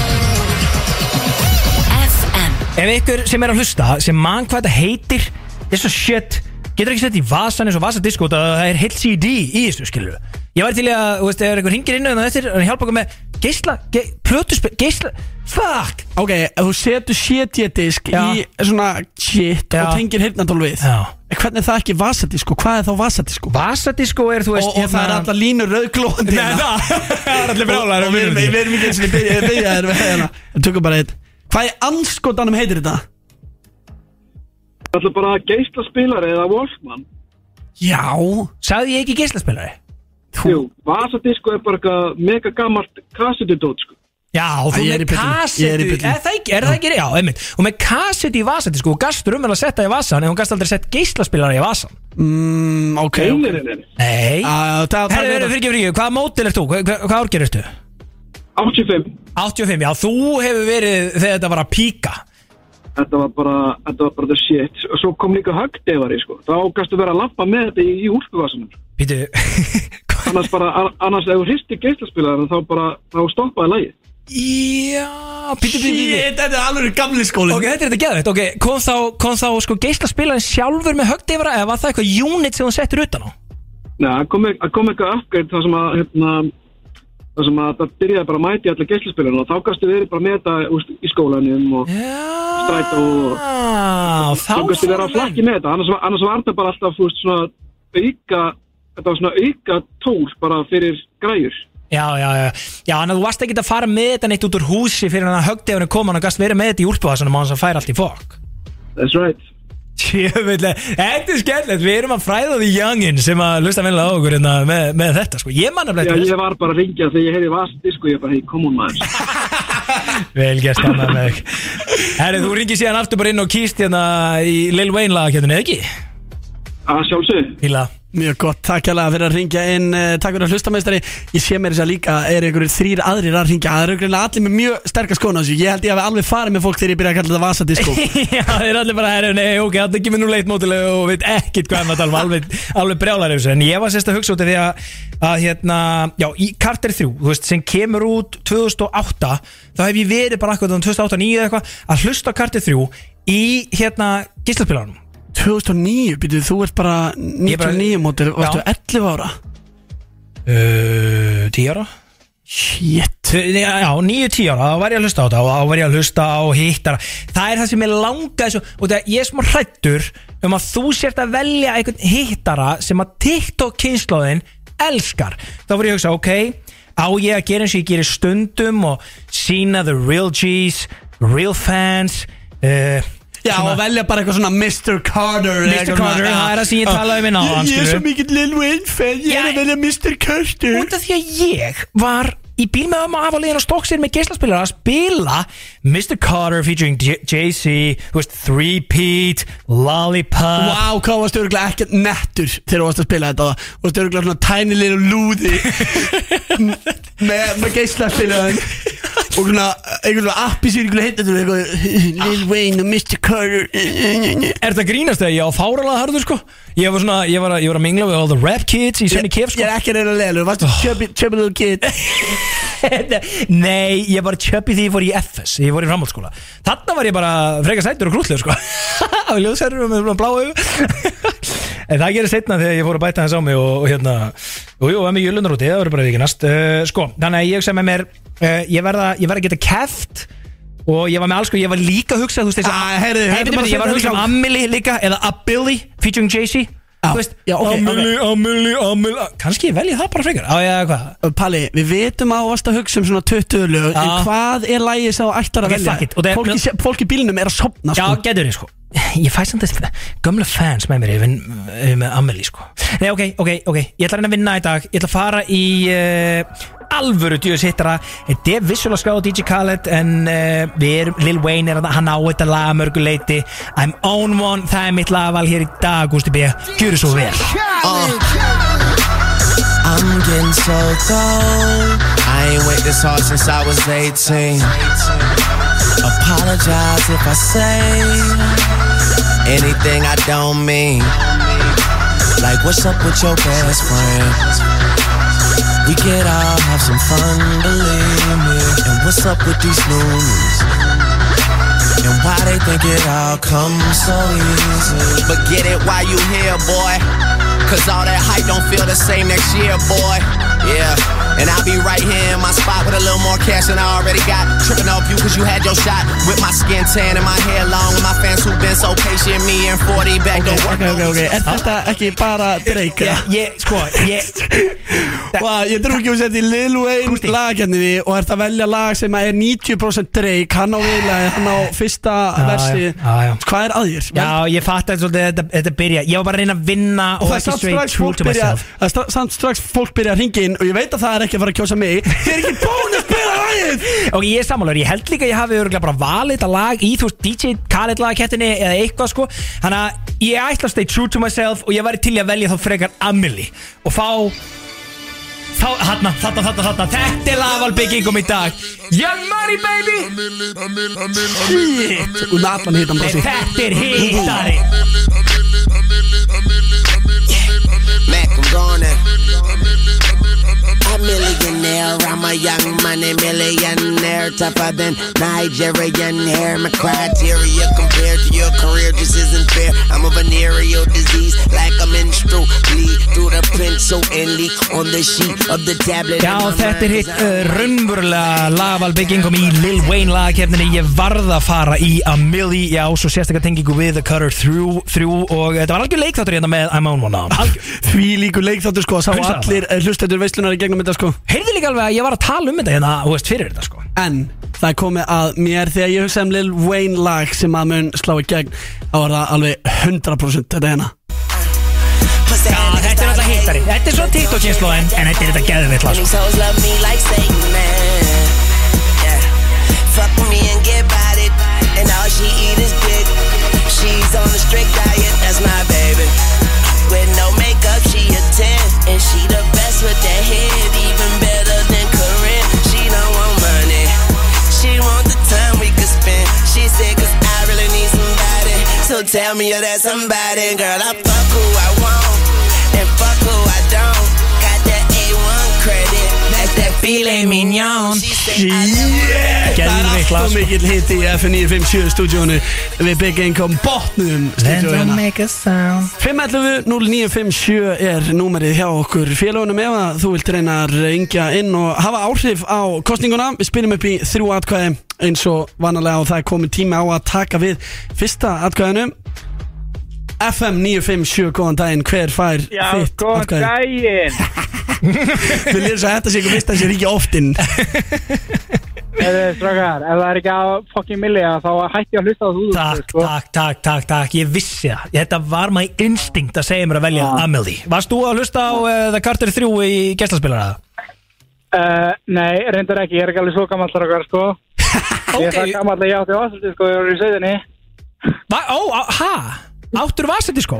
FM Ef ykkur sem er að hlusta, sem man hvað þetta heitir This is shit Getur ekki sett í vasan eins og vasadisko Það það er heilt CD í þessu skilur Ég væri til í að, þú veist, ef ykkur hringir inn og þetta er hjálpa okkur með geisla, ge, plötuspil, geisla Fuck Ok, ef þú setur CD-disk Já. í svona shit Já. og tengir hirnatól við Já. Hvernig er það ekki vasadisko? Hvað er þá vasadisko? Vasadisko er, þú Og, veist hérna- og það er allar línur rauðglóðandi það er allir Og við erum- við erum ekki eins og við byrjaðum við hérna Við tökum bara eitt Hvað í anskotanum heitir þetta? Það ætla bara að geisla spilari eða Walkman Já Sagði ég ekki geislaspilari? Jú, Vasadisko er bara eitthvað mega gammalt kassetudót sko. Já, þú ég er með í pillunni, kassetu ég er í pillunni. Er það ekki, er það ekki, já, einmitt Og með kassetu í vasan, sko, og gast rumvel að setja í vasan En hún gast aldrei sett geislaspilari í vasan mm, Ok Nei, nei, nei, nei. Nei Ah, það- það- Herðu, herðu, fyrir ekki, fyrir ekki, hvaða mótil ert þú? Hvað, hvað- hvað árger ertu? 85 85, já, þú hefur verið þegar þetta var að píka Þetta var bara, þetta var bara the shit Og svo kom líka högdevari sko. Þá gæstu vera að lappa með þetta í, í úlpuvasanum Býtu, hvað? Annars bara, a- annars ef þú hristi geislaspilaran Þá bara, þá stoppaði lagið Já, býtu, býtu, býtu Shit, þetta er alveg gamli skólin Ok, þetta er þetta geðvægt, ok, kom þá, kom þá sko geislaspilarin sjálfur með högdifara eða var það eitthvað unit sem hún settur utan á? Nei, það kom, e-, það kom eitthvað upgrade þar sem að hérna, þar sem að það byrjaði bara að mæti allir geislaspilarinn og þá gæstu verið bara með þetta úst, í skólanum og Strætó og- Já, þá þá gæstu verið á fóru menn. flakki með þetta annars, var- annars var þetta bara alltaf úst, svona auka þetta var svona auka tól bara fyrir græjur Já, já, já, já, en þú varst ekki að fara með þetta neitt út úr húsi fyrir hann að högdefinu koma hann og gast verið með þetta í úlpuvasanum á hans að færa allt í fokk That's right Tjöfnlega, þetta er skemmtilegt, við erum að fræða því youngin sem að lusta minnilega á okkur hérna, með, með þetta sko, ég manna Já, blei ég var bara að ringja þegar ég heyri vasadisk og ég bara, hei, come on maður Vel gert annað með Herri, þú ringir síðan aftur bara inn og kýst hérna í Lil Wayne lagakjöndinu, eða ekki? að sjálfsög Fíla Mjög gott, takk alveg fyrir að ringja inn eh, Takk fyrir að hlustameistari Ég sé mér þess að líka er einhverjir þrýr aðrir að ringja Það eru greinlega allir með mjög sterkar skóna þessu Ég held ég hafi alveg farið með fólk þegar ég byrja að kalla þetta vasadisko Já, þeir eru allir bara, herri, nei, ok, þetta er ekki mér nú leitt mótilega og veit ekkit hvað maður tala um, alveg, alveg brjálar yfir þessu, en ég var sérst að hugsa út af því að, að hérna, já, í Carter 3, þú veist, sem kemur út 2008, þá hef ég verið bara akkur 2008-2009 eða eitthvað, að hlusta á Carter 3 í, hérna, gíslaspilaranum 2009, býtu, þú ert bara Ég bara- 99 mótil, varstu Já. 11 ára uh, 10 ára? Shit Tvö- nei, Já, 9-10 ára, þá var ég að hlusta á þetta og þá var ég að hlusta á hittara Það er það sem ég langaði svo og það ég er smá hrættur um að þú sért að velja einhvern hittara sem að TikTok kynnslóðin elskar Þá voru ég að hugsa, ok á ég að gera eins og ég gerir stundum og sína the real G's real fans uh, Já, og velja bara eitthvað svona Mr. Carter eða Mr. Carter, eitthvað svona, það já. er það sem ég talaði um hérna, í náðan, Ég ég er skilur. svo mikill Lil Wayne fan, ég Já, er að velja Mr. Carter út af því að ég var í bíl með ömmu og af á leiðin og stóksir með geislaspilar að spila Mr. Carter featuring J- Jay-Z, þú veist, 3-Pete, Lollipop Vá, hvað varst örgulega ekkert nettur þegar þú varst að spila þetta Þú varst örgulega svona tiny little lúði með, með geisla og svona einhvern veginn appi sér einhvern veginn eitthvað Lil Wayne og Mr. Carter Er þetta grínast þegar ég á fáralega harður sko? Ég var svona, ég var að, ég var að mingla við all the rap kids í Sunny Kef Ég sko Ah. er ekki að reyna að leiða þú varst chubby, chubby little kid Nei, ég var tjöppi því ég fór í FS, ég fór í framhaldsskóla Þarna var ég bara freka sætur og grútlegur sko Á ljóðsæður með svona blá auðu En það gerist setna þegar ég fór að bæta hans á mig og, og hérna Og jú, emmi jölundar úti, það verður bara vikinast uh, Sko, þannig að ég sem er mér, uh, ég verða, ég verða að geta keft Og ég var með alls sko, ég var líka að hugsa, þú veist, þessi Ah, heyrðu, Hey, byrju, þetta byrju, ég var að hugsa um Amelie líka eða Abilly featuring Jay-Z Ah. Þú veist, já, ok, Amelie, Amelie, Amelie Kanski ég velji það bara frekar Á, já, hvað? Palli, við vitum að þú varst að hugsa um svona 20 lög Já. En hvað er lægið sem þú ættar að Ah. Ok, fuck it, og það er- velja fólk, í- fólk í bílnum er að sopna Já, sko. getur þið sko Ég fæ samt þess gömlu fans með mér yfir, yfir með Amelie sko Nei, ok, ok, ok Ég ætla að reyna að vinna í dag Ég ætla að fara í uh, alvöru djöðs hittara Þetta er vissulega skráð á DJ Khaled En uh, við erum, Lil Wayne er að hann á þetta lag að mörgu leiti I'm on one, það er mitt lagval hér í dag Gústi B, gjöru svo vel I'm getting so cold. I ain't went this hard since I was 18. Apologize if I say anything I don't mean. Like, what's up with your best friend? We could all have some fun, believe me. And what's up with these loonies? And why they think it all comes so easy? But get it while you here, boy. Cause all that hype don't feel the same next year, boy. Yeah. And I'll be right here in my spot with a little more cash than I already got. Tripping off you cause you had your shot. With my skin tan and my hair long. With my fans who've been so patient. Me and 40 back to work. Ok, ok, ok, er þetta ekki bara Drake? eða? Ég, ég, sko, ég Vá, ég trú ekki að setja í Lil Wayne lagjarninni og ert að velja lag sem er 90% Drake, hann á viðlagi, hann á fyrsta já, versi já, já. Hvað er að þér? Já, ég fatt að þetta, þetta byrja Ég var bara að reyna að vinna Og og, það er ekki samt straight strax, true fólk to byrja, myself það er stra- samt strax fólk byrja að ringa inn og ég veit að það er ekki að fara að kjósa mig Þið er ekki búin að spila lagið Ok, ég er sammálaður, ég held líka að ég hafi örgulega bara valið þetta lag í þú veist DJ Khaled lagakettinni eða eitthvað sko Þannig að ég ætla að stay true to myself og ég væri til í að velja þá frekar Amelie og fá Þá, þarna, þarna, þarna, þarna, þetta er lagvalbyggingum í dag Young Money baby Shit, og Nathan hitt hann bara Nei, sig Þetta er hittari Mac, I'm gonna. A millionaire, I'm a young money millionaire, tougher than Nigerian hair. My criteria compared to your career just isn't fair. I'm a venereal disease, like a menstrual bleed through the pencil and leak on the sheet of the tablet. Já, þetta er hitt uh, raunverulega lagvalbyggingum í Lil Wayne lagakefninni Ég varð að fara í Amelie, já, svo sérstakar tengingu við The Cutter 3, 3 og uh, þetta var algjör leikþáttur hérna með I'm on one now Því líku leikþáttur sko, sá Hunsaði allir hlustendur veislunar í gegnum þetta sko Heyrðu líka alveg að ég var að tala um þetta hérna, þú veist, fyrir þetta sko En það er komið að mér þegar ég hugsa um Lil Wayne lag sem að mun slá í gegn þá er það alveg 100% þetta hérna Já, þetta er alltaf hittari, þetta er svo TikTok-kynnslóðin, en þetta er þetta geðvill And sko. these hoes love me like Satan, man. Yeah. Fuck with me and get bodied. And all she eat is dick. She's on a strict diet, that's my baby. With no makeup, she a 10. And she the best with that head, even better than Corinne. She don't want money. She want the time we could spend. She said, cause I really need somebody. So tell me you're that somebody. Girl, I fuck who I want. And fuck who I don't. Got that A1 credit. That's that filet mignon. She said, I love Yeah, Það er Geðveikt lag, alltaf sko. mikill hit í F957 stúdíónu Við byggja einhverjum botnum stúdíónu hérna make a sound 511 0957 er númerið hjá okkur félagunum ef að þú vilt reyna að ringja inn og hafa áhrif á kostninguna við spilum upp í þrjú atkvæði eins og vanalega og það er komið tími á að taka við fyrsta atkvæðinu FM 957, góðan daginn, hver fær Já, þitt góðan atkvæði? daginn Við lýðum svo að þetta sé ekki fyrst að sé ekki oftinn Eða strákar, ef það er ekki á fokkin milli þá hætti ég að hlusta á þú Takk, takk, takk, takk, takk, ég vissi það Þetta var maður instinkt eh, að segja mér að velja Amelie Varst þú að hlusta á uh, The Carter 3 í gestaspilara? Uh, nei, reyndar ekki, ég er ekki alveg svo gammal þar okkar, sko. Ég er það Ok, gammal að ég átti vasöldi, sko, ég var í sauðinni. va- ó, á- ha? Áttur vasadiskó?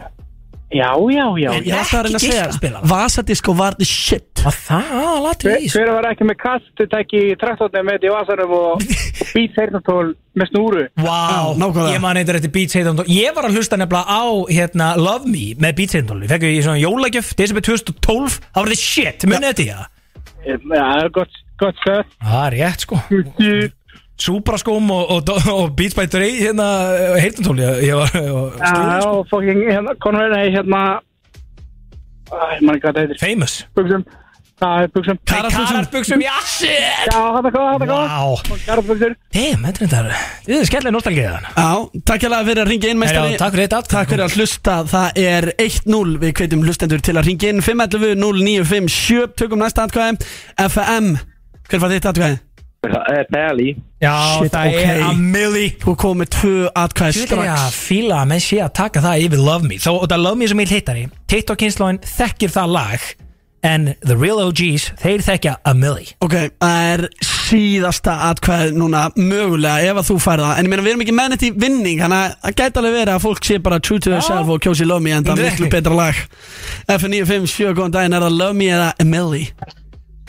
Já, já, já. En- Ég er alltaf að reyna að Ekki segja geislaspilara. Vasadisko var the shit Að það, að, lati Hver í hver var ekki með kastutæki í traktornum með þetta í vasanum og být heyrnartól með snúru? Vá, Já, nákvæmlega. ég man eitthvað eftir Beats heitandól Ég var að hlusta nefnilega á hérna, Love Me með Beats heitandól Ég fekk ég svona jólagjöf, desember 2012 Það var þetta shit, munið þetta ég Já, það er gott, gott stöð. Það er rétt sko Súpraskóm og, og, og Beats by Dre hérna, heitandól ég, ég var og, Já, stóð, sko. og fokking, hérna, konverðin er hérna, Æ, mann ekki hvað þetta heitir, Famous buksum. Það er buksum. Kararbuxum, já shit Já, þetta er góð, þetta er góð. Vá, Kararbuksur. damn, þetta er þetta Þetta er skellir nostalgið þann Já, takk hérlega fyrir að ringa inn meistari Já, takk fyrir þetta Takk fyrir að hlusta, það er 1-0 Við hvetjum hlustendur til að ringa inn 511-0957, tökum næsta atkvæði FM, hver var þitt atkvæði? Það er Belly Já, Shit, það ok. er að milli Þú kom með tvö atkvæði Þetta er strax að fíla að menn sé að taka það yfir Love Me Þó, og það er Love Me sem ég hittari TikTok kynnslóin þekkir það lag En the real OGs, þeir þekkja a milli Ok, það er síðasta atkvæð núna mögulega ef að þú fær það En ég meina við erum ekki menn þetta í vinning Þannig að það gæti alveg verið að fólk sé bara true to themselves og kjósi Love Me En það er miklu betra lag F957, góðan daginn, er það Love Me eða Emily?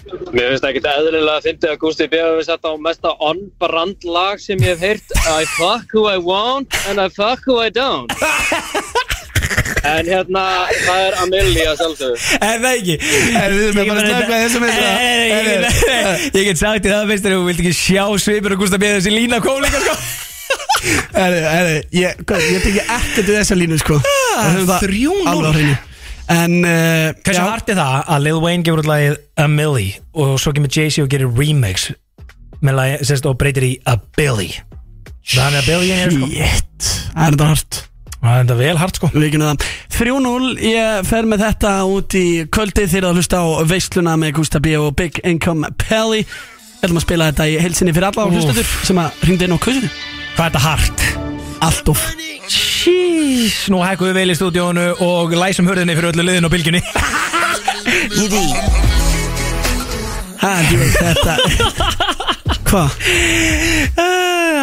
Mér finnst ekkert eðlilega að fyndi að Gusti B. hefur sett á mesta on-brand lag sem ég hef heyrt I fuck who I want and I fuck who I don't En hérna, það er Amelie að sjálfsögðu En það ekki En við erum bara að snöggva þessu, meistara. Ég get sagt þér það meistari Þú vilt ekki sjá svipur og gústa með þessi lína kólinga sko Erðu, erðu, ég, Eh, hvað, ég tekið ekkert við þessa línu sko Ah, Það höfum það 3-0. alveg á hreinu. En uh, Hversu já, hart er það að Lil Wayne gefur út lagið a milli Og svo kemur Jay-Z og gerir remix Með lagið, sérst, og breytir í a billy Þannig að billy er sko Shit, það er þetta hart Það er þetta vel hart sko Vikinu það 3-0, ég fer með þetta út í kvöldi Þeir eru að hlusta á veisluna með Gústa B og Big Income Pelli Við ætlum að spila þetta í heilsinni fyrir alla og Úff. hlustaður sem að hringdi inn á kvössinu Hvað er þetta hart? Allt of Jeez, nú hækkum við vel í stúdíónu og læsum hörðinni fyrir öllu liðin og bylgjunni ha, djú, Þetta Hvað?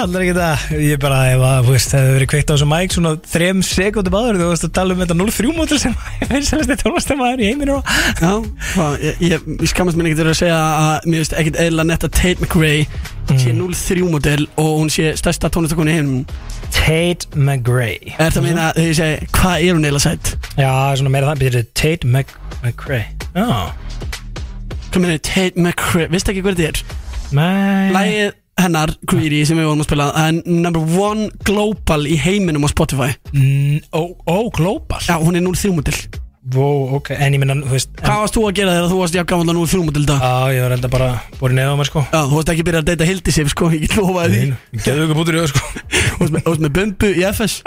Allar ekki það Eh, Ég bara, ef að, þú veist, það hefur verið kveikt á þessu mæk svona þrem sekundum aður þú veist að tala um þetta 0-3 mótil sem vinsalast þetta tónastamæður í heiminu og Já, hvað, ég, ég, ég skammast mér ekkert verið að segja að mér finnst ekkert eðla netta Tate McRae Mm. sé 0-3 model og hún sé stærsta tónlistakonu í heiminum Tate McRae Er það að meina þegar ég segi, hvað er hún eðla sætt? Já, svona meira það byrjuði Tate Mc, McRae Já, Hvað meina Tate McRae, veistu ekki hver þetta er? mæ Lægið hennar, Greedy, sem við vorum að spila það er number one global í heiminum á Spotify Ó, ó, glóbal Já, hún er 0-3 model Vó, ok, en ég minna, þú veist en- Hvað varst þú að gera þegar þú varst jafn gaman að 0-3 model í dag? Já, ég var enda bara búin neða á mér sko Já, þú varst ekki byrjað að deyta hildi sig, sko, ég get lofaði því Geðu ykkur bútur í það sko Þú varst með- þú varst með bumbu í FS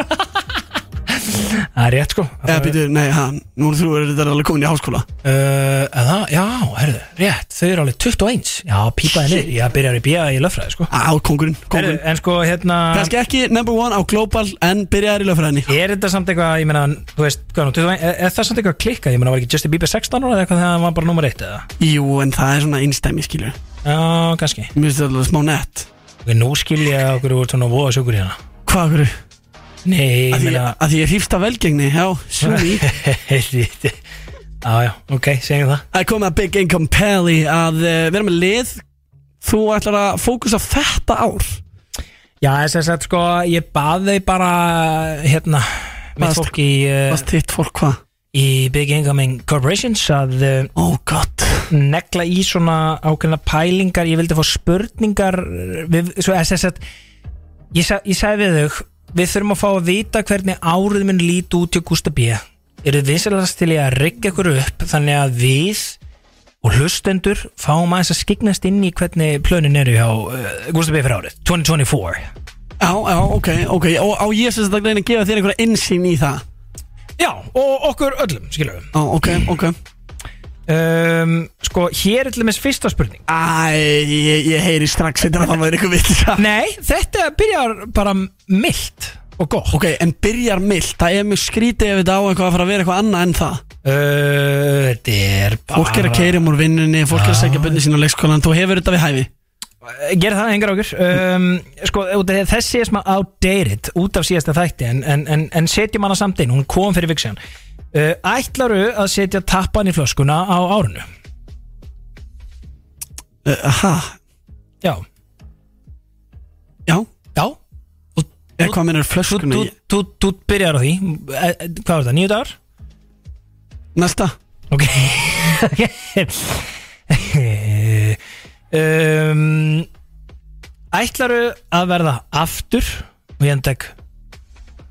Það er rétt sko Já, býtu, nei, ha, 0-3 er þetta alveg komin í háskóla Uh, að það, já, herðu, rétt Þau eru alveg 21 Já, pípaði niður, ég byrjar í bíja í löffræði sko. Á, kongurinn, herðu, kongurinn En sko, hérna Kannski ekki number one á global en byrjaðar í lögfræðinni Er þetta samt eitthvað, ég meina, þú veist hvað, er nú, 21, er, er það samt eitthvað klikkað, ég meina, var ekki Justin Bieber 16 ára eða eitthvað þegar hann var bara nummer 1 eða? Jú, en það er svona einstæmi, skilur Já, kannski Mér finnst þetta alveg smá nett Ok, Nú skil ég að okkur úr svona voða sjókur hérna Hvað, hverju? Nei, ég Að því meina að því ég hýfst af velgengni, já, sumi Já, já, ok, segjum það Það er komið að Big Income Pally að uh, vera með lið Þú ætlar að fókusa á þetta ár Já, þess að sko, ég bað þau bara, hérna Mitt Baðst- fólk í, uh, Hvað þitt fólk, hvað? í Big Incoming Corporations að uh, Ó, gott negla í svona ákveðna pælingar ég vildi fá spurningar við, svo, eða, sem sagt, ég, sa, ég sagði við þau við þurfum að fá að vita hvernig árið mun líti út hjá Gústa B eru vinsalast til ég að rigga ykkur upp þannig að við og hlustendur fáum aðeins að skiknast inn í hvernig plönin eru hjá uh, Gústa B fyrir árið 2024 Já, já, ok, ok Og á ég sem þetta reyna að gefa þér einhverja innsýn í það Já, og okkur öllum, skilur við Ó, ok, ok um, Sko, hér er til dæmis fyrsta spurning Æ, ég, ég heyri strax Þetta er að það var einhver vitt Nei, þetta byrjar bara milt og gott Ok, en byrjar mild, það er mjög skrítið ef þetta á eitthvað að fara að vera eitthvað annað en það Uh, Þetta er bara Fólk er að keira um úr vinnunni, fólk er að segja bönni sín á leikskólan, þú hefur þetta við hæfi Gerð Eh, það, hengar okkur um, sko, út af- Þessi er smá outdated út af síðasta þætti en, en, en, en setjum hana samt inn, hún kom fyrir viksjan uh, Ætlaru að setja tappan í flöskuna á árinu? uh, Aha, Já, já, já eða hvað mennur Þú- flöskunni þú- Þú þú byrjar á því Eh, eh, Hvað var það, nýju dagar? Næsta, Ok um, Ætlaru að verða aftur og ég endek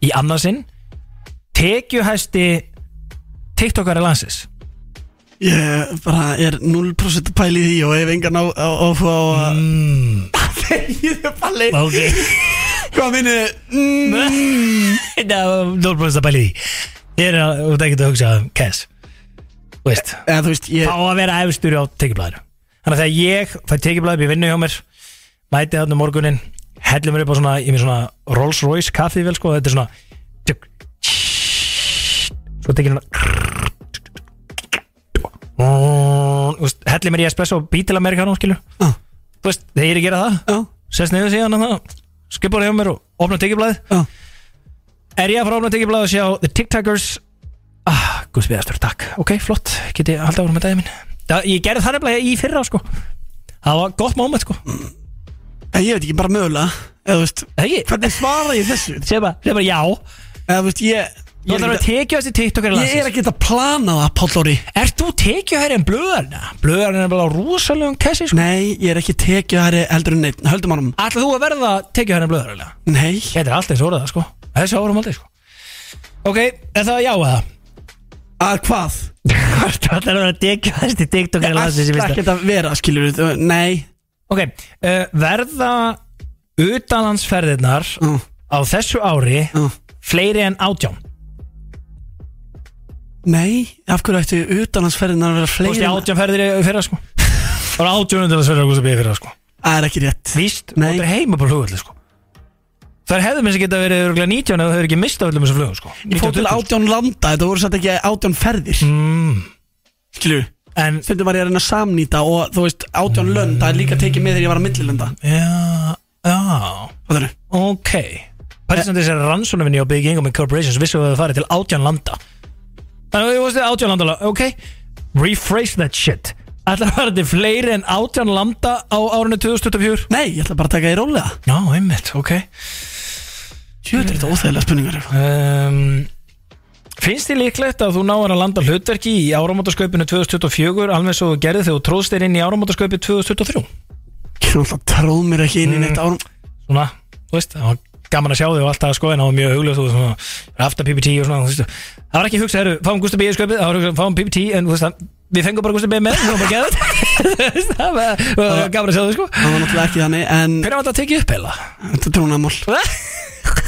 í annarsinn tekjuhæsti TikTokari landsins ég bara er 0% að pæla í því og hef engan á, á, á, á að mm, Ég er bara leið Ok Hvað minnur, Það var dólbróðist að bæli því Ég er að, þú tekit að hugsa um Cass Þú veist eða þú veist, ég fá að vera efstur á tekjublaðinu þannig að þegar ég fæ tekjublaðið upp í vinnu hjá mér mæti þarna um morgunin hellum mér upp á svona, ég er með svona Rolls Royce kaffi vel sko, þetta er svona tjúk, svo tekið hérna hellum mér í espresso og bítil amerikanum skilur Já. þú veist, þegar ég er að gera það Já, sest niður síðan að það skipar hjá mér og opna tekjublaðið já er ég að fara að opna tekjublaðið og sjá The TikTokers ah, Guðs Viðarstur, takk ok, flott, geti ég haldið áfram með dagið minn það, ég gerði það nefnilega í fyrra sko það var gott moment sko En Ég veit ekki, bara mögulega, eða þú veist það ekki, Hvernig svara ég þessu? segja bara, segja bara já Eða þú veist, ég þú ætlar að vera tekjuhæsti TikTokari Ég er landsins ekki að plana það, Pállóri ert þú tekjuhæri en blöðarna? blöðarna er bara á rosalegum kessi sko Nei, ég er ekki tekið hæri eldur en neitt Höldum hann ætlar þú að verða tekjuhæri en blöðarna? Nei, þetta er alltaf eins orðað sko þessi árum aldrei sko ok, er það já eða? að hvað? Hvort ætlar að vera tekjuhæsti TikTokari landsins í Ætla fyrsta? ekki að vera, skilur við Nei, Ok, uh, verða utanlandsferðirnar Mm. á þessu ári Mm. fleiri en átján nei, af hverju ættu utanlandsferðin að Þú vera veist fleiri ég en- átján ferðir í fyrra sko Það voru átján utanlandsferðir á Gústabíði fyrra sko Það er ekki rétt Víst, Nei. og það er heima bara flugulli sko Það er hefðum eins að geta verið örugglega 19 ef það hefur ekki mistað öllum þessum flugum sko Ég fór til 19, átján landa, þetta voru satt ekki átján ferðir mm, Skilur við En, Stundum var ég að reyna að samnýta og þú veist, átján lönd Það er líka tekið með þegar ég var að millilönda Mm. já, já Fattarðu? Ok Parísandi sér rannsónuvinni á Big Income Corporations vissu að það farið til átján landa Þannig að þú veist átján landa la- Ok, rephrase that shit Ætlar að fara til fleiri en átján landa á árinu 2024 Nei, ég ætla bara að taka í rólega Já, einmitt, ok Jöður þetta óþægilega spurningar um, Finnst þið líklegt að þú náir að landa hlutverki í áramótasköpinu 2024 alveg svo þú gerði þegar þú tróðst þér inn í áramótasköpi 2023 Ég er alltaf tróð mér ekki inn í Mm. neitt árum svona, þú veist, það var gaman að sjá þig og alltaf sko, en það var mjög huglega, þú veist, svona aftan PPT og svona, þú veist, það var ekki hugsað, herru, fáum Gustaf B. í sköpið, það var hugsað, fáum PPT, en þú veist, það, við fengum bara Gustaf B. með, það var bara geðað, þú veist, það var, það var gaman að sjá þig sko. Það var náttúrulega ekki þannig, en Hvernig var þetta að tekið upp heila? Þetta er trúnaðmál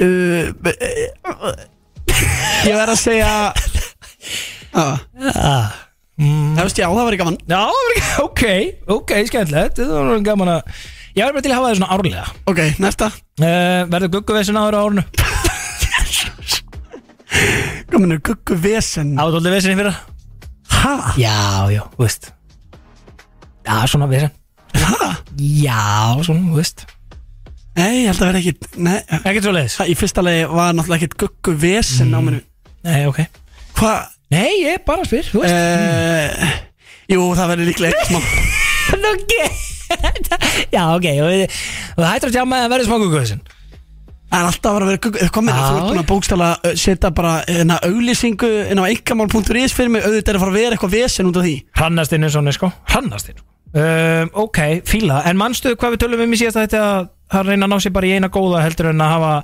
Uh, b- uh, Ég verð að segja ah, Mm. Það veist já, það var gaman Já, það var ekki- ok, ok, skemmtilegt, það var gaman að, ég var bara til að hafa það svona árlega, Ok, næsta uh, verður gugguvessin ára á árinu, Gaman er guggu vesen átóldið vessinni fyrir, Ha? já, já, þú veist, já, svona vessin, Ha? já, svona, þú veist, Nei, ég held að vera ekkit nei, ekkert Mm. svo leiðis, það- Í fyrsta lagi var náttúrulega ekkit guggu vesen á mér nei, Eh, ok. Hvað? Nei, ég bara spyr, þú veist Uh, jú, það verður líklega ekkert smá Ok Já, ok, og það hættur að sjá með að verði smákukuðsinn Það er alltaf að vera að vera guggu Hvað meina, Já, þú ert búin já. að bókstala eh, setja bara hérna, auglýsingu inn á einkamál.is fyrir mig auðvitað er að fara að vera eitthvað vesen út af því Hrannastinn er svona, sko Hrannastinn um, Ok, fíla, en manstu hvað við tölum um í síðast að þetta að reyna að ná sér bara í eina góða heldur en að hafa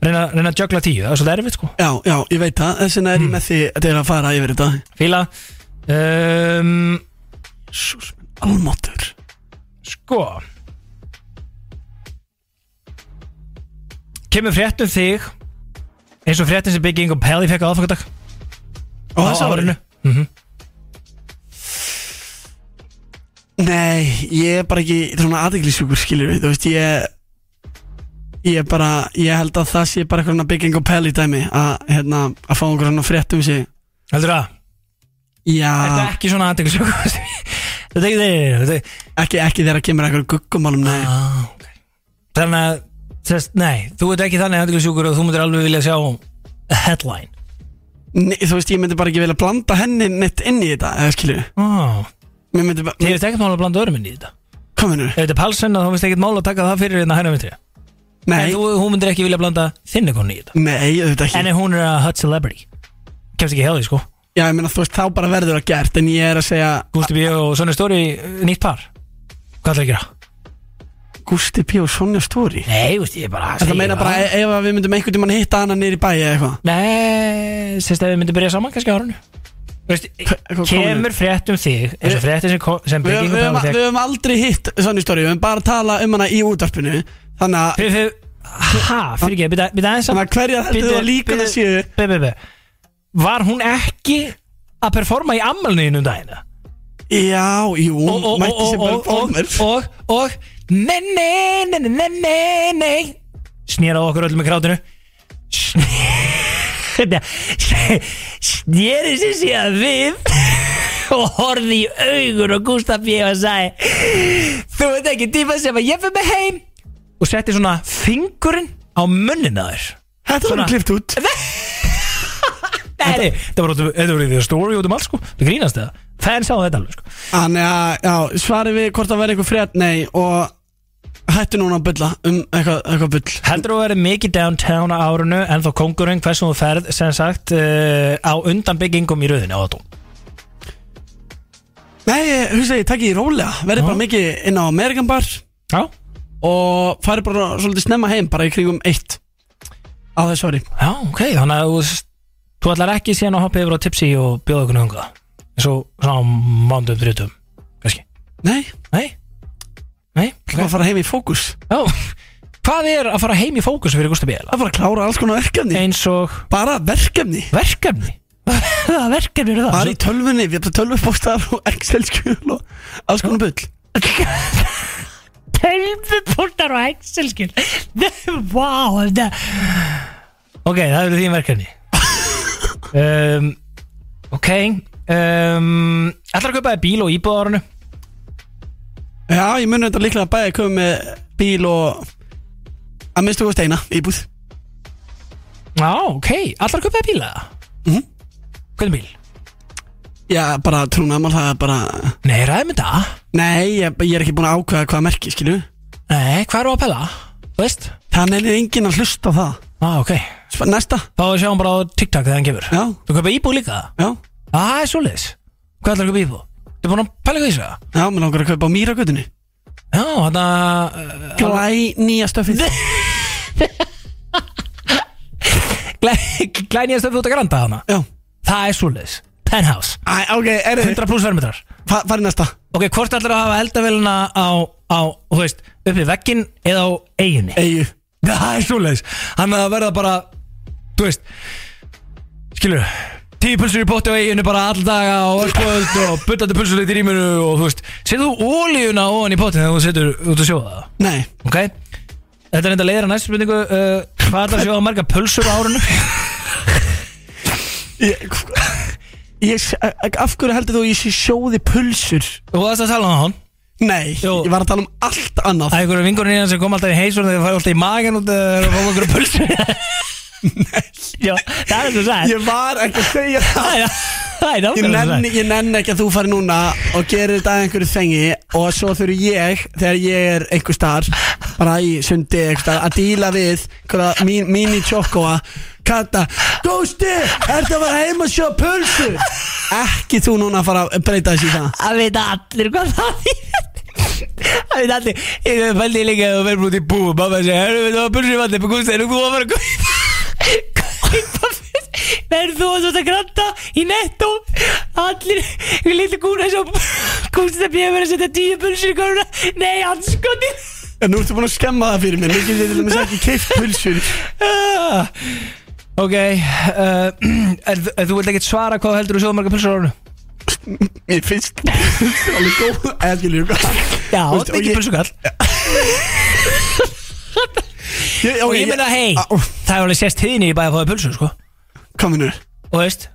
reyna, reyna að jökla tíu, það er svolítið erfitt sko Já, já, ég veit það, þess vegna er ég með því til að fara yfir þetta Fíla um, Almáttur Sko Kemur frétt um þig eins og fréttin sem Big Ingo Pelli fekk á aðfangadag Og þess að árinu Mhm. Nei, ég er bara ekki svona aðeglisjúkur skilur við, þú veist, ég ég bara, ég held að það sé bara eitthvað svona bygging og pæl í dæmi að, hérna, að fá einhver svona frétt um sig Heldur það? Þetta er Já, ekki svona aðdeglisjók Þetta er ekki þeir þetta er- ekki, ekki þegar kemur eitthvað guggumálum, nei Ah, ok. Þannig að sest, Nei, þú ert ekki þannig aðdeglisjókur og þú myndir alveg vilja sjá headline Nei, Þú veist, ég myndi bara ekki vilja blanda henni neitt inn í þetta, eða skilju oh. Mér myndi Þið bara, hérna. veist ekkert mál að blanda örum inn í þetta kominu Ef þetta er palsen þá veist ekkert mál að taka það fyrir hérna en það hægna myndri En Nei, þú, hún myndir ekki vilja blanda þinni konu í þetta nei, auðvitað ekki En ef hún er að hot celebrity Kemst ekki hjá því sko Já, ég meina, þú veist, þá bara verður það gert En ég er að segja, Gústi B. og Sonny Story nýtt par Hvað ætlar að gera? Gusti P. og Sonja Stóri Nei, veist, ég er bara að Það meina bara, e- ef að við myndum einhvern tímann hitta hana niður í bæi eða eitthvað Nei, sérst að við myndum byrja saman kannski á árunni Veist, hvað komið? kemur frétt um þig eins og fréttin sem, kom- sem Við höfum- byggingum við höfum- bæði við höfum aldrei hitt Sonja Stóri Við höfum bara að tala um hana í útvarpinu Þannig að þig Ha, fyrir ekki, byrja aðeins Þannig að hverjar heldur þú að líkurnar séu? Byrja, byrja Var hún ekki að performa í ammælniðinu um dagina? Já, jú, og, og, mætti og, sem og, bara og, bómur og, og Nei, nei, nei, nei, nei, nei, nei Snýraði okkur öllum í krátinu Snýri sér síðan við og horfði í augun og Gustaf ég og sagði Þú veit ekki tíma sem að ég fyrir mig heim og setti svona fingurinn á munnina þér Þetta Svona. var klift út Nei, þetta var út um- þetta var í því story út um allt sko Það grínast það, fans á þetta alveg sko Þannig að, já, svari við hvort það verði einhver frétt Nei, og hættu núna að bylla Um eitthvað, eitthvað byll Heldur þú að vera mikið downtown á árunu en þá kongurinn hversum þú ferð sem sagt uh, á undan byggingum í rauðinu á þú Nei, ég- hugsa ég, takk ég rólega Verði bara mikið inn á Amerikan bar Já Og fari bara svolítið snemma heim Bara í kringum eitt Á þessu ári Já, ok, þannig að þú, þú ætlar ekki síðan að hoppa yfir á tipsi og bjóða okkur hunga eins og svona á mándum þrjutum kannski Nei, Nei? Nei? bara að fara heim í fókus Já Hvað er að fara heim í fókus fyrir Gustaf Bíla? Að fara að klára alls konar verkefni Eins og Bara verkefni verkefni Það verkefni eru það Bara í tölvunni, við erum tölvupóstar og Excel-skjöl og alls konar byll Tölvupúltar og Excel-skil Vá þetta Ok, það eru þín verkefni um, Ok um, Ætlar að kaupa þér bíl og íbúð á árunu Já, ég muni þetta líklega að bæja að koma með bíl og að minnstu góð steina íbúð Já, ok, ætlar að kaupa þér bíl eða? Mhm. Hvernig bíl? Já, bara trúnaðamál, það er bara Nei, ræðum þetta Nei, ég, ég er ekki búin að ákveða hvaða merki, skilju Nei, hvað eru að pæla? Þú veist? Þannig er enginn að hlusta á það Já, ah, ok Sp- Næsta, Þá sjáum bara á TikTok þegar hann kemur já, Þú kaupa íbúð líka? já Já, það er svoleiðis Hvað ætlar að kaupa íbúð? Þú er búin að pæla hvað í þessu? eða? Já, mér langar að kaupa á mýragötunni Já, hann að Glæ nýja stöfið glænýja stöfi út að granda hana Já, Það er svoleiðis Penthouse Æ, ok, er þið 100 pluss verðmetrar Fa, Farið næsta Ok, hvort ætlar að hafa eldavélina á, á þú veist, uppi veggin eða á eiginni Eyju Það er svoleiðis Hann að verða bara Þú veist Skilur Tíu pulsur í potti á eiginu bara all daga og öll kvöld og buttandi pulsur í rýminu og þú veist Setur þú ólíuna ofan í pottin þegar þú setur út að sjóða það Nei, Ok Þetta er enda leiðir að næstu spurningu uh, Hvað er það að sjóða marga pulsur á árinu? ég, ég s- a- a- Af hverju heldur þú að ég sé sjóði pulsur? Þú varst að tala um hann Nei, Jú. ég var að tala um allt annað Það er einhverju vingurinn hérna sem kom alltaf í heisur þegar það fæði alltaf í magan út uh, og fóði okkur pulsu Já, það er þess að Ég var ekki að segja það Það er Ég náttúrulega nenni, þess ég nenni ekki að þú fari núna og gerir þetta að einhverju þengi og svo þurfi ég, þegar ég er einhver starf, bara í sundi einhver starf, að díla við einhverja mín, mini tjókóa, kata Gústi, ertu að fara heim og sjá pulsu? Ekki þú núna að fara að breyta þessi í það að Það veit allir hvað það þýðir Það veit allir Ég veit fældi líka að þú verður út í bú og Mamma segir, herru, veit það var pulsu í vatni Búið gústi, þú var bara að kaupa Kaupa pulsu Verður þú að svona granta í netto Allir, við lítið gúna svo Gústi það býða verið að setja tíu pulsu í köruna Nei, anskotið En nú ertu búin að skemma það fyrir mér, mér getur til dæmis ekki keift pulsur Ah, Ok uh, er, er, Þú vilt ekkert svara hvað heldur þú sjóðum marga pulsur á árunu? Mér finnst pulsur alveg góð, eða skilur þú hvað Já, Þú veist, og mikið ég- pulsukall Ég- Og ok, ég meina, ég- hei, Á, ó. það er alveg sérst tíðinni í bæði að fáið pulsu, sko Hvað minnur? Og veist,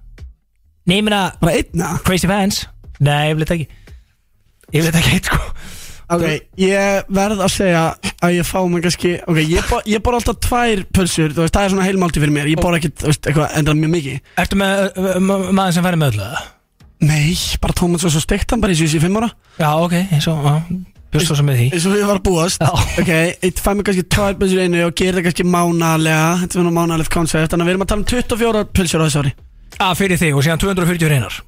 nei, ég meina, Bara einna? crazy fans Nei, ég vil þetta ekki Ég vil þetta ekki, sko Ok, ég verð að segja að ég fá mig kannski Ok, ég, bor, ég bor alltaf tvær pulsur Þú veist, það er svona heilmálti fyrir mér Ég bor ekkit, þú veist, eitthvað endra mjög mikið Ertu með ö, ö, ma- maður sem færi með öllu, það? Nei, bara tómat svo svo steikt hann bara í síðan fimm ára Já, ok, eins og, já, bjóst þú sem með því Eins og ég var að búast Já. Ok, ég fæ mig kannski tvær pulsur í einu Og gerir það kannski mánalega Þetta er svona mánalegt koncept Þannig að við erum að tala um 24 pulsur á þessu ári Að fyrir þig og síðan 240 reynar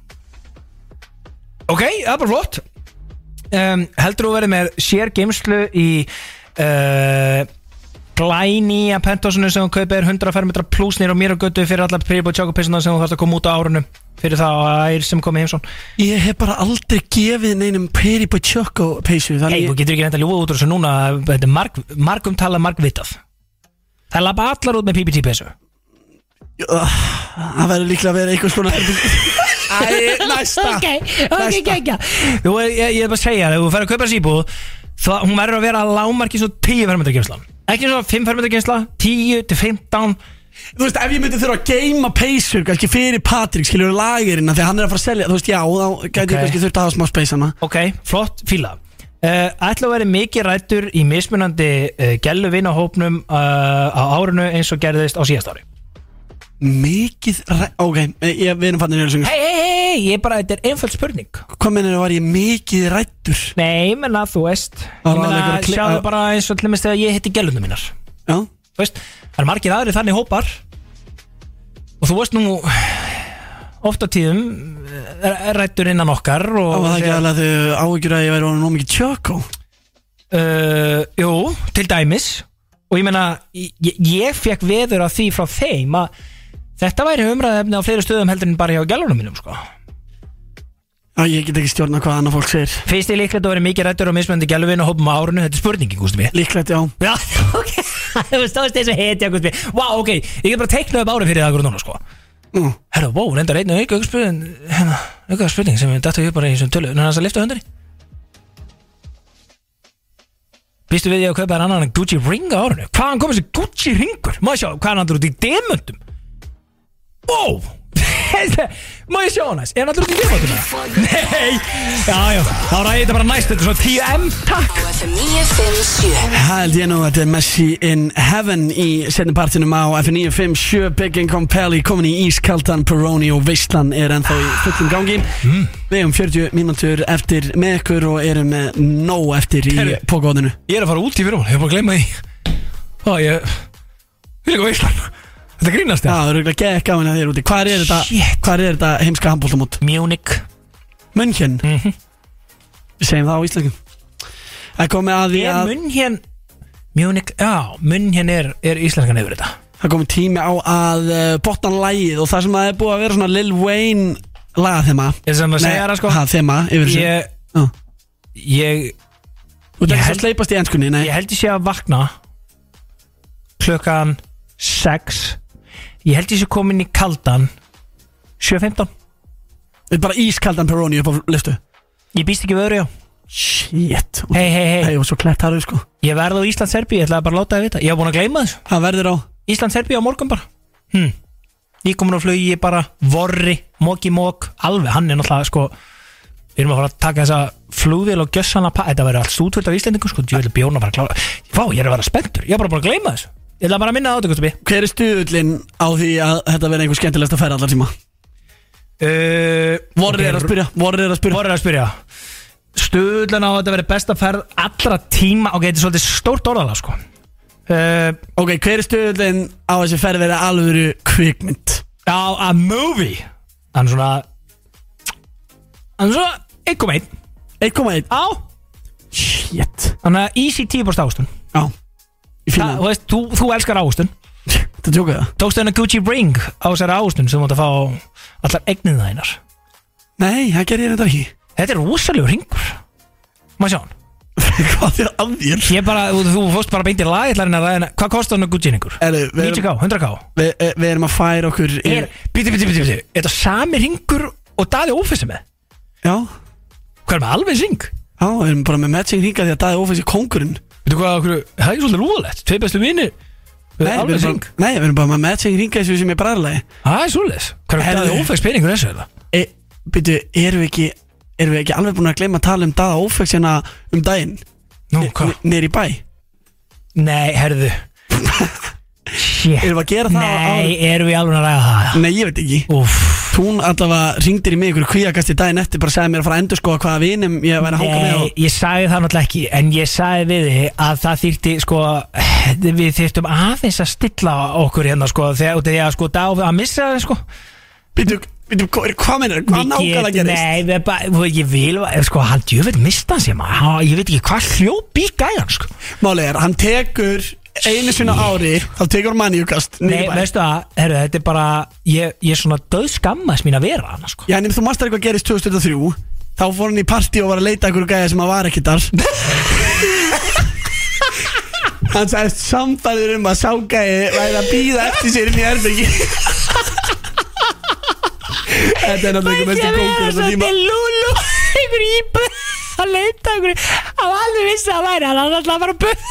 Ok, það er bara flott um, Heldur þú verið með sér geimslu í uh, glæni að pentásinu sem þú kaupir 100 fermetra pluss nýr á mér og götu fyrir allar príbúið tjókupissuna sem þú þarfst að koma út á árunum fyrir það ær sem komið heimsón Ég hef bara aldrei gefið neinum Peri Pachoco peysu Nei, Þannig þú ég, getur ekki reynda að ljúga út úr þessu núna þetta er marg, margum tala margvitað Það lappa allar út með PPT pesu það verður líklega að vera eitthvað svona Æ, næsta Ok, ok, ekki, ekki Ég ég er bara að segja, ef þú fer að kaupa þessi íbúð Það, hún verður að vera að lámarki svo 10 fermetra geimsla Ekki svo 5 fermetra geimsla 10 til 15 Þú veist, ef ég myndi þurfa að geima peysur kannski fyrir Patrik, skiljur lagirina þegar hann er að fara að selja, þú veist, já, þá Ok. gæti ég kannski þurft að hafa smá speysana Ok, flott, fíla uh, Ætla að vera mikið rættur í mismunandi uh, gælu vinahópnum uh, á árinu eins og gerðist á síðast ári Mikið, ræ- ok, ég, við erum fannir hey. Hei, hei, hei, hei, ég bara, þetta er einföld spurning Hvað mennir var ég mikið rættur? Nei, ég menna, þú veist Það Ég var alveg menna, einhver kli- sjáðu að- bara eins og til minnst þegar ég hitti gælunum mínar Já, Þú veist, það er margir aðri þannig hópar og þú veist nú oft á tíðum eh, ræddur innan okkar og eh, og það ekki alveg að þau áhyggjur að ég væri orðin of mikið tjökó uh, jú, til dæmis og ég meina, ég, ég fekk veður af því frá þeim að þetta væri umræðefni á fleiri stöðum heldur en bara hjá gælunum mínum sko. Já, ég get ekki stjórna hvað annað fólk segir finnst þið líklegt að vera mikið rættur á mismöndi gæluvinu og hópum á árinu, þetta er spurningi, gústum við Líklegt, já Já, ok, þú stóðst eins og hetja, gústum við Vá, ok, ég get bara teiknað upp árið fyrir það akkur núna, sko Nú, Herra, wow, reyndar einu auka spurning hérna, auka spurning sem við datta ég bara í þessum tölu Þannig að lifta höndinni Býstu við ég að kaupa þér annan en Gucci ring á árinu? Hvaðan kom þessi Gucci ringur? Má ég sjá, hvað er hann allur út í demöndum? Wow! Má ég sjá hann næst? Er hann allur út í demöndum? eða? Nei! Já, já, þá ræði þetta bara næst Þetta er svona 10M, takk! Á FM 957 Það held ég nú að þetta er Messi in Heaven í setni partinum á F957 Big and Compelli komin í Ískaldan, Peroni og Veistlan er ennþá í fullum gangi Hmm. Við hefum 40 mínútur eftir með ykkur og erum með nóg eftir í Herru. pókóðinu Ég er að fara út í fyrir hún, ég er bara að gleyma því Ó, ég... Við erum veislan Þetta grínast Já, ég það eru ekki ekki gaman að þér úti Hvar er þetta, Shit. hvar er þetta heimska handbóltamót? Munich Mönchen Mhm. Við segjum það á íslensku Það komið að því Er að munn hér Munich, já, munn hér er, er íslenskan yfir þetta Það komið tími á að uh, botna lægið og það sem að er búið að vera svona Lil Wayne lagathema Ég sem að segja það sko ha, þema yfir þessu ég, Já. ég, Þú Ég ert ekki svo held- sleipast í ennskunni, nei ég held ég sé að vakna Klukkan 6 Ég held ég sé komin í kaldan 7.15 Þetta er bara ískaldan Peroni upp á lyftu Ég býst ekki við öðru já Shit Hei, hei, hei, Hei, og svo klett harðu sko ég verði á Ísland-Serbi Ég ætlaði bara að láta það vita Ég hef búin að gleyma þessu Það verður á Ísland-Serbi á morgun bara hm. Ég komin á flugi, ég bara vorri, móki mók Alveg, hann er náttúrulega sko Við erum að fara að taka þessa flugvél og gjössana Þetta verður allt stúdvöld af Íslendingum sko Ég vil bjóna bara að klára Vá, ég er að vera spenntur, ég er bara búin að gleyma þessu Ég ætla bara að minna það á þetta, Gustafi Hver er stuðullin á því að þetta verði einhver skemmtilegst að færa allar tíma? uh, Vorri Eh, er að spyrja Vorri er að spyrja Vorri er að spyrja Stöðlan á að þetta verður besta ferð allra tíma Ok, þetta er svolítið stórt orðalega sko uh, Ok, hver er stuðullin á þessi ferð verði alvöru kvikmynd? Já, a movie Hann er svona Hann er svona 1.1 1,1 Á, Shit þannig að easy 10% ástun Já Ég fíla Þa, þú, það veist, þú, þú elskar ástun Þetta tjókaði það Tókstu hennar Gucci ring á þessari ástun sem þú mátt að fá á allar egninu þæginar Nei, það gerði ég þetta ekki Þetta er rosalegur ringur Má sjá hann Hvað er að þér? Ég bara, þú, þú fórst bara beint í lag ég ætla að reyna að ræða hérna- Hvað kostar hennar Gucci ringur? Erðu, við, erum- 90k, 100k við, eh, við erum að færa okkur Er, yfir- Bíti, bíti, bíti, bíti Er þetta sami ringur og daði ófissi með? Já Hvað er með alveg ring? Já, við erum bara með matching hingað því að Daði Ófis er kóngurinn Veitu hvað, okkur, það er ekki svolítið lúðalegt Tvei bestu vinir Við erum Nei, við alveg erum hring bara- Nei, við erum bara með matching ringa þessu sem er bræðarlagi Það er svolítið Hvernig Herðu. er það ófægst peningur þessu eða? e, Býtu, erum við ekki Erum við ekki alveg búin að gleyma að tala um daða ófæks hérna um daginn Nú, hvað? Nýri bæ Nei, herðu Shit Erum við að gera það á- Nei, erum við alveg að ræða það? Nei, ég veit ekki Úff Tún allavega ringdir í mig ykkur kvíakast í daginn eftir bara segði mér að fara að endur skoða hvaða vinum ég væri að hanga með Nei, og ég sagði það náttúrulega ekki En ég sagði við þið að það þýrti sko, Við þýrtum aðeins að stilla okkur hérna sko, Þegar út af því að sko, dáf að missa það sko. Býtu, býtu, hvað, hvað meinar, hvað Við nákvæmlega getum- gerist? Nei, við bara, þú- ég vil eh, sko, Hann djöfitt mista hans ég maður Hann- Ég veit ekki hvað hljóp í gæjan sko. Málið er, hann tekur einu sinna ári Þá tekur hann manniukast Nei, veistu það, herru, þetta er bara Ég, ég er svona döðskammast mín að vera hann sko. Já, en ef þú mastar eitthvað gerist 2003 Þá fór hann í partí og var að leita ykkur gæja sem að var ekki þar Hann sagðist samfæður um að sá gæja væri að býða eftir sér inn í herbyggi Þetta er náttúrulega ekki mestu kókur þessa tíma lúlu Einhver íbúð að leita einhver Hann var alveg vissi að væri Hann var alltaf bara búð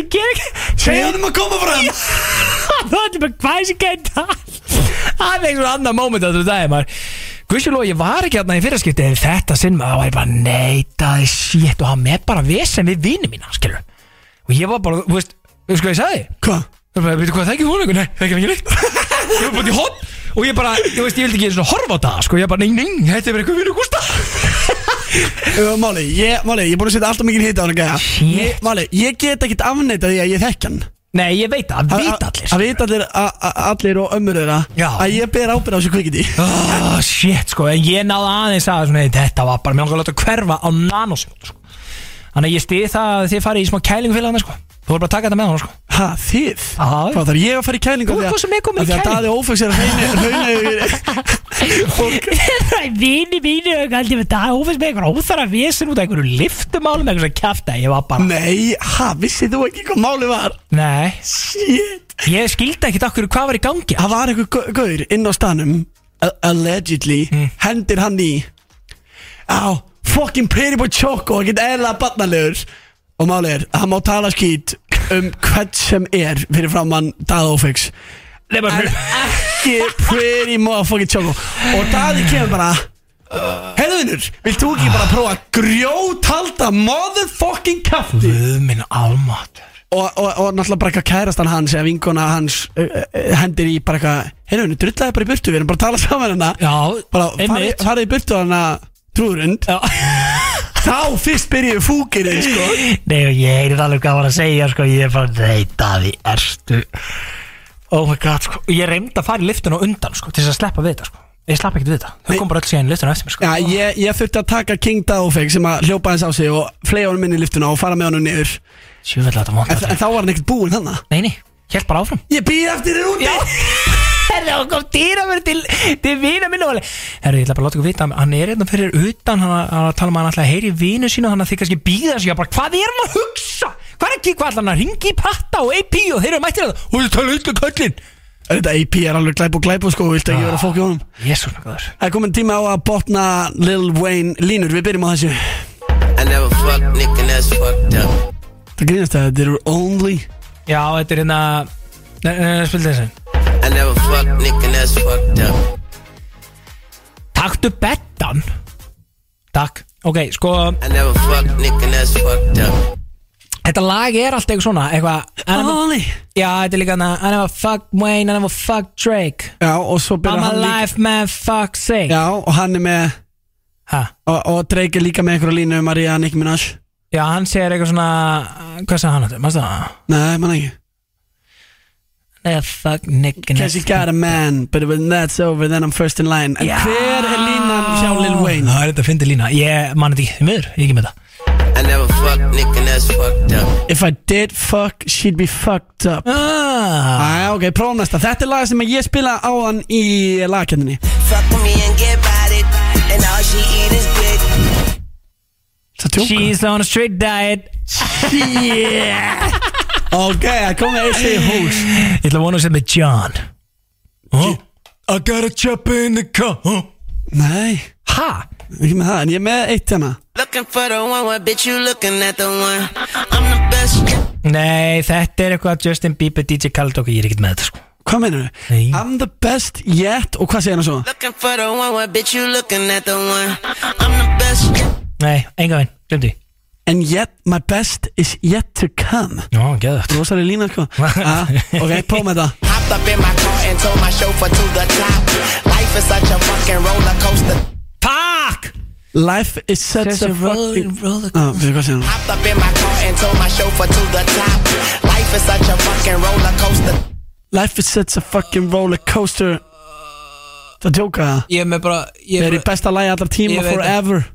Gera ekki Segðu hann um að koma fram Það var allir bara hvað sem gæti Það er einhver annar moment að þú dagir maður Guðsjólu, ég var ekki hérna í fyrraskipti En þetta sinn maður, það var ég bara neitaði shit Og hann með bara vesen við vini mína, skilur Og ég var bara, þú veist, þú veist hvað ég sagði? Hvað? Það bara, veitu hvað, það er ekki hún eitthvað, nei, það er ekki neitt Ég var bara út í hot og ég bara, ég veist, ég vildi ekki einu svona horfa á það, sko Ég bara, nei, nei, þetta er bara eitthvað vinnu gústa Uh, Máli, ég, máli, ég er búin að setja alltaf mikið hita á hann gæja Shit. Ég- Máli, ég get ekkit afneitað því að ég þekk hann Nei, ég veit það, Að- að vita allir að- Að vita allir, að- að- allir og ömmur þeirra Já. Að ég ber ábyrð á þessu kvikindi Oh, shit, sko, en ég náði aðeins að svona, nei, þetta var bara, mér langar að láta hverfa á nanosekund, sko Þannig að ég stið það að þið farið í smá kælingu fyrir hana, sko Þú voru bara að taka þetta með hana, sko Ha, þið? Já. Hvað þarf ég að fara í kælingu? Þú ert hvað sem er komin í Því að kælingu. daði ófæks er að hreina- hreina yfir fólk Það er vini mínu, ég held ég með dag, hún finnst með einhver óþara vesen út af einhverju liftumálum, einhverju kjafta, ég var bara, Nei, ha, vissið þú ekki hvað máli var? nei, Shit ég skildi ekkit okkur hvað var í gangi Það var einhver gau- gaur inn á stanum a- Allegedly Hmm. Hendir hann í Á, fucking pretty boy choco Ekkert eðla barnalegur Og máli er, hann má tala skýt Um hvern sem er fyrir framann Dað ófæks Nei, bara, En ekki pretty motherfucking choco Og Daði kemur bara Herðunur, vilt þú ekki bara prófa að grjóthalda motherfucking kafti Guð minn almatur og, og, og náttúrulega bara eitthvað kærastan hans eða vinkona hans uh, uh, hendir í bara eitthvað Herðunur, drullaði bara í burtu, við erum bara að tala saman hérna Já, Bara farið einmitt fari í burtu hana trúðurund Já. Þá fyrst byrjuðu fúkirinn sko Nei, og ég heyrði alveg hvað hann var að segja sko, ég er bara, nei, Davi, erstu Oh my god, sko og Ég reyndi að fara í liftun og undan, sko, til þess að sleppa við þetta, sko Ég slapp ekkert við þetta, þau kom bara öll síðan í liftun eftir mér, sko Já, ég, ég þurfti að taka King Daofeg sem að hljópa hans á sig og flega honum inn í liftuna og fara með honum niður Sjöfell að þetta vant En, en þá var hann ekkert búinn þannig Nei, nei, hjælt bara áfram Ég býð eftir þér úti Herði, og kom dýra mér til, til vina minna og alveg Herði, ég ætla bara að láta ykkur vita Hann er hérna fyrir utan, hann hann er að tala um að hann ætla að heyri vinu sínu Þannig að þið kannski býða þessu, ég bara, hvað er hann að hugsa? Hvað er ekki, hvað ætla hann að ringi í patta og AP og þeir eru mættir að það Og þið tala um ykkur köllin Þetta AP er alveg glæp og glæp og sko Viltu ekki vera að fókja honum Jésús, minn góður Það er komin tíma á að botna Lil Wayne línur Við byrjum á þessu I never fuck nigga that's fucked up. Það grínast að þetta eru only Já, þetta er hérna Nei, nei, nei, spil þessi I never fuck nigga that's fucked up. Taktu bettan Takk Ok, sko, I never fuck nigga that's fucked up. þetta lag er alltaf eitthvað svona Eitthvað I never- Only Já, þetta er líka hana I never fuck Wayne, I never fuck Drake Já og svo I'm byrjar hann líka alive, man, fuck sake Já og hann er með Ha? Og, og Drake er líka með einhverja línu Maria Nicki Minaj Já, hann segir eitthvað svona Hvað sagði hann þetta? Mástu það? Nei, mann ekki Nei, fuck Nick Cause you got a man But when that's over then I'm first in line En hver er línan hjá Lil Wayne? Það er þetta að fyndi lína Ég man þetta ekki, því miður, ég er ekki með það I never fuck nigga that's fucked up. If I did fuck, she'd be fucked up ah. Æ, ok, prófum næsta Þetta er lag sem ég spila á hann í lagkenninni Fuck with me and get bodied, and all she eat is dick. Það tjóka She's on a strict diet Ok, það komið eitt í hús Ég ætla að vona að segja með John oh. I gotta jump in the car Nei, Ha? ekki með það, en ég er með eitt hérna Looking for the one, what bitch you looking at the one? I'm the best. Nei, þetta er eitthvað Justin Bieber, DJ Khaled og ég er ekkert með þetta sko Hvað meinar Nei. I'm the best yet Og hvað segir hann svo? Looking for the one, what bitch you looking at the one? I'm the best. Nei, enga veginn, glemdi And yet my best is yet to come Já, geðvægt Rósalega lína sko ah, Ok, på með það Hopped up in my car and told my chauffeur to the top. Life is such a fucking roller coaster. Takk! Life is such a fucking roller ah, Við hvað segir hann? Hopped up in my car and told my chauffeur to the top. Life is such a fucking roller coaster. Life is such a fucking roller coaster Það tjóka það Ég er með bara Ég Það er í besta lagi allra tíma Ég veit það. forever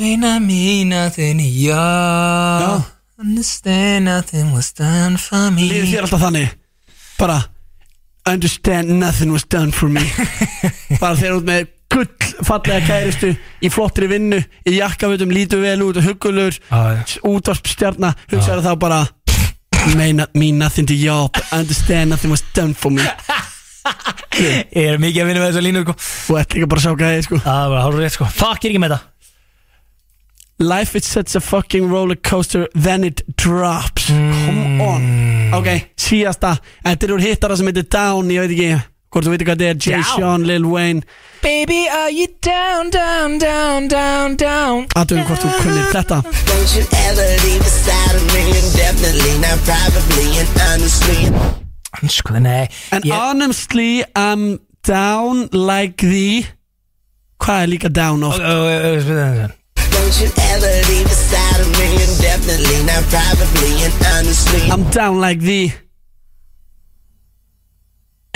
Meina me nothing, Já. Ah. yeah Understand nothing was done for me Líður þér alltaf þannig Bara Understand nothing was done for me Bara þeir út með gull fallega kæristu Í flottri vinnu Í jakkafutum lítur vel út og huggulur Já, já. Útvarpstjarna Hugsaðu þá bara Meina me nothing to job Understand nothing was done for me Ég er mikið að vinna með þessa línu sko Þú ert líka bara að sjá gæði sko Það var hálfur rétt sko Takk, ég er ekki með þetta Life is such a fucking roller coaster Then it drops Come on Ok, síðasta Þetta er úr hittara sem heitir Down Ég veit ekki hvort þú veitir hvað þetta er Jay Down. Sean, Lil Wayne Baby, are you down, down, down, down, down Aðtöfum hvort þú kunnir þetta Don't you ever leave the side of me, and definitely not privately and honestly. Sko, nei And ég- honestly I'm down like the Hvað er líka Ó, down ó, oft? ó, ó, ó, ó. Don't you ever leave the side of me, and definitely not privately and honestly. I'm down like the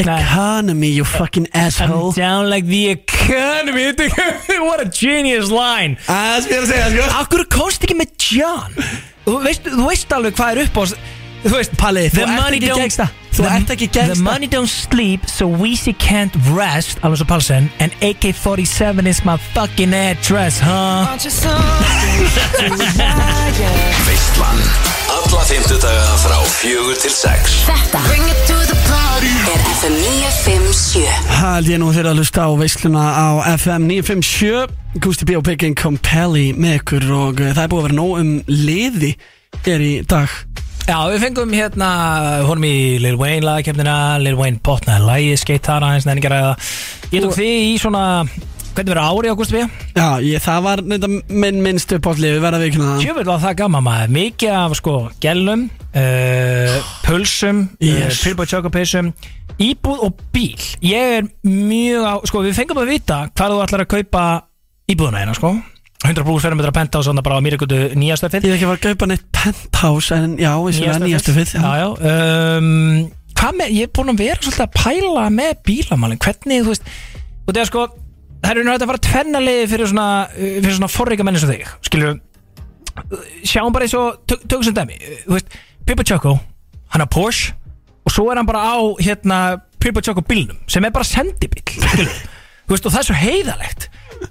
Nei. Economy you fucking I'm asshole down like the economy Þetta er- What a genius line Það er sem ég er að segja sko Akkur komst ekki með John Þú veist, þú veist alveg hvað er upp á Þú veist, Palli, þú the ert money ekki don't- gangsta. Þú the- ert ekki gangsta. The money don't sleep so Weezy can't rest Alonso Palsen And AK-47 is my fucking address, huh? Veistlan Alla fymtudaga frá fjögur til sex Þetta Er FM 957 Hald ég nú þeirra að hlusta á veisluna á FM 957 Gusti B. og Pekin Compelli með ykkur og eh, það er búið að vera nóg um liði hér í dag Já, við fengum hérna, honum í Lil Wayne lagakefnina, Lil Wayne botnaði lægi, skeitt hana, hans nefningar að Ég tók Og- því í svona, hvernig verður ári á Gústafíða? Já, ég, það var neynda minn minnst upp á liði, verða við ekki hana Tjöfull var það gaman maður, mikið af sko gellum, uh, pulsum, yes. Yes. uh, pillbóð tjókapeysum, íbúð og bíl. Ég er mjög á, sko við fengum að vita hvað þú ætlar að kaupa íbúðuna hérna sko. 100 brús ferðum betra penta og svona bara á mýragutu nýjastafið. Ég er ekki að fara að kaupa neitt penthouse en já, ég sem það nýjastu fyrir Já, já um, Hvað með, ég er búinn að vera svolítið að pæla með bílamálin Hvernig, þú veist Og það er sko, það er náttúrulega að fara tvennaliði fyrir svona, uh, fyrir svona forrika menn eins og þig Skilur, sjáum bara eins og tök- Tökum sem dæmi, Uh, þú veist Pippa Choco, hann er Porsche Og svo er hann bara á, hérna Pippa Choco bílnum, sem er bara sendibíl Skilur, þú veist, og það er svo heiðalegt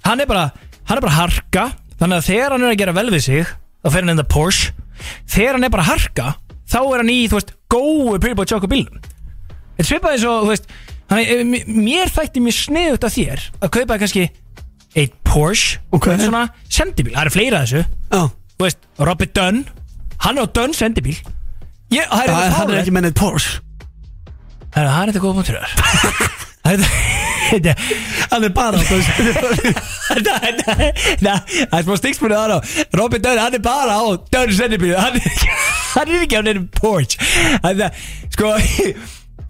Hann er bara, hann er bara harka Þannig að þegar hann er að gera vel við sig Þá fer hann enda Porsche þegar hann er bara að harka þá er hann í, þú veist, góu Pippa Choco bílnum þetta svipaði eins og, þú veist hann, er- eh, m- mér þætti mér sniðut af þér að kaupa kannski eitt Porsche Ok. en svona sendibíl, það eru fleira af þessu Já, þú veist, Robby Dunn hann er á Dunn sendibíl ég, það er það er, hann er fáránlegt. ekki með neitt Porsche Það er hann er þetta góða punktur þar. Það er þetta Hann er bara á þessu Þetta- þetta- þetta- Það er smá stíksmunni þar á Robin Dunn, hann er bara á Dunn sendibíl hann, hann er ekki á nefnum Porsche hann, það- Sko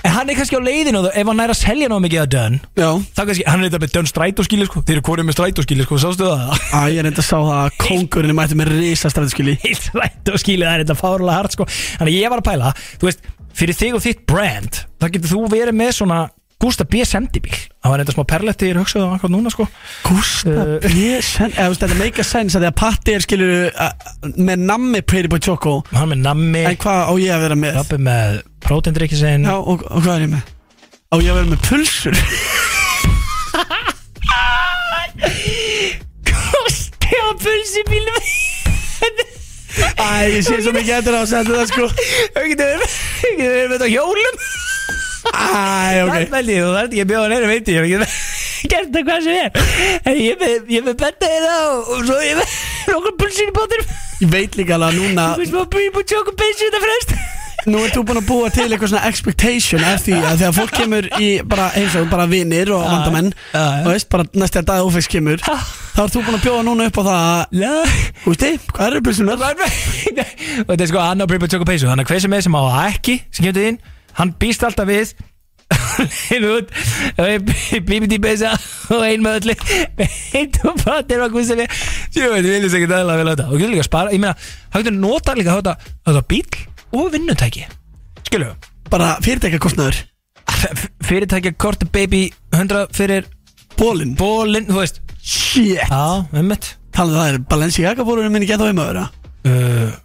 en Hann er kannski á leiðinu Ef hann er að selja ná mikið að Dunn Já, Þá kannski, hann er þetta með Dunn strætóskíli sko Þeir eru hvorið með strætóskíli sko, sástu það Æ, ég reyndi að sá það að kóngurinn mætti með risastræðu skili Heilt strætóskíli, það er þetta fárlega hart sko Þannig að ég var að pæla, þú veist Fyrir þig og þitt brand þá getur þú verið með svona Gústa B. sendibíl Það var þetta smá perletti, ég er hugsaðu akkur núna sko Eh, Gústa B. Sen- eða, þú veist, Þetta make a sense að því að Patti er skilur með nammi Pretty Boy Choco Hann er með nammi En hvað á ég að vera með? Robby með prótendrykki sinn Já, og, og hvað er ég með? Á ég að vera með pulsur? Kosti á pulsi bílum Æ, ég sé svo mikið eftir á að setja það sko Auðvitað verið með þetta á hjólum Æ, Það ok veldi þú, það er ekki að bjóða neina veiti Ég hef ekki gert það hvað sem er En ég með, ég með betta þér á Og svo ég með nokkur pulsin í bóttir Ég veit líka alveg að núna Þú veist maður búið búið tjóku bensin þetta fremst Nú ert þú búin að búa til eitthvað svona expectation af því að þegar fólk kemur í bara eins og bara vinir og vandamenn og veist, bara næstu að dag ófex kemur þá ert þú búin að bjóða núna upp á það að Já Hústi, hvað eru pilsunar? Og þetta er sko annar búið búið tjóku bensin Þannig að hver sem er sem á það ekki sem kemur inn Hann býst alltaf við Leif út Bíbiti besa Og ein með öllu Beint og fattir og hvað sem er Jú, þetta vil þess ekki dæla vel á þetta Og getur líka að spara Ég meina, það getur nota líka þetta Þetta bíl og vinnutæki Skilu Bara fyrirtækjakostnaður Fyrirtækja kort baby 100 fyrir Bólin Bólinn, þú veist Shit Já, ummitt Talið það er Balenciaga bólurinn minni geta á heima að vera uh,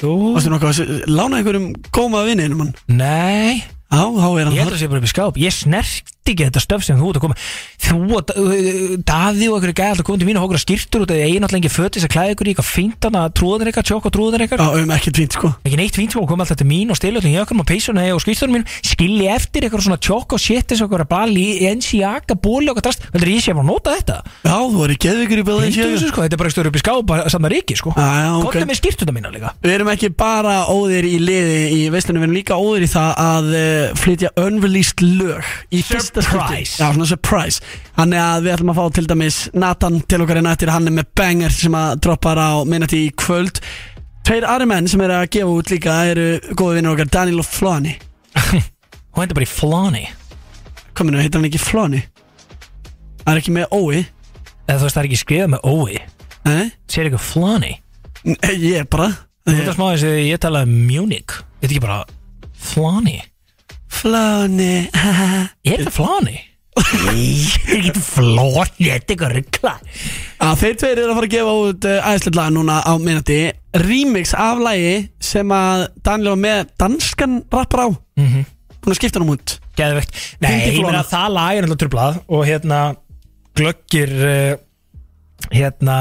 Jú Varstu nokkuð að s- lána einhverjum góma vinninum hann? Nei Já, þá er hann Ég held að sé bara upp í skáp Ég snerti ekki þetta stöf sem þú ert að koma Þú og Da- uh, Daði og einhverju gæði alltaf komið til mín og hókur að skýrtur út af því að ég er náttúrulega ekki fötis að klæða ykkur í eitthvað fínt hana trúðanir ykkar, tjók og trúðanir ykkar Já, um ekkert fínt sko ekki neitt fínt og kom alltaf til mín og stilu allir jökum og peysunni og skýrtunum mín skilji eftir eitthvað svona tjók og shit eins og eitthvað bali í ensi jaka, bóli og eitthvað drast heldur ég sé bara að nota þetta Já, þú eru geðvigur í Hýttu Balenciaga þessu sko, þetta er bara stöður upp í skáp saman ríki sko, Já, já, Ah, ok. komdu með skýrtuna mína líka Við erum ekki bara óðir í liði í veistunum, við erum líka óðir í það að uh, flytja unreleased lög í fyrsta skipti. Surprise. Já, svona surprise. Þannig að við ætlum að fá til dæmis Nathan til okkar í nættir, hann er með banger sem að droppar á minnati í kvöld. Tveir aðri menn sem eru að gefa út líka eru góði vinnur okkar, Daniel og Flani. hún hendur bara í flani Kominu, heitir hann ekki Flani? Það er ekki með ói, eða þú veist það er ekki skrifað með ói nei? sér eitthvað flani Nei, Ég er bara... þetta er smá þess að ég talaði um Munich þetta er ekki bara flani Flani, haha. er þetta flani? Nei, þetta er ekki flani þetta er eitthvað ruggla Já, þeir tveir eru að fara að gefa út uh, æðislegt lag núna á minnati Remix af lagi sem að Daniel var með danskan rappar á mm -hmm. Búin að skipta hann út Geðvegt. Nei, Hringdu í ég meina Flóna. að það lag er náttúrulega trublað og hérna glöggir uh, hérna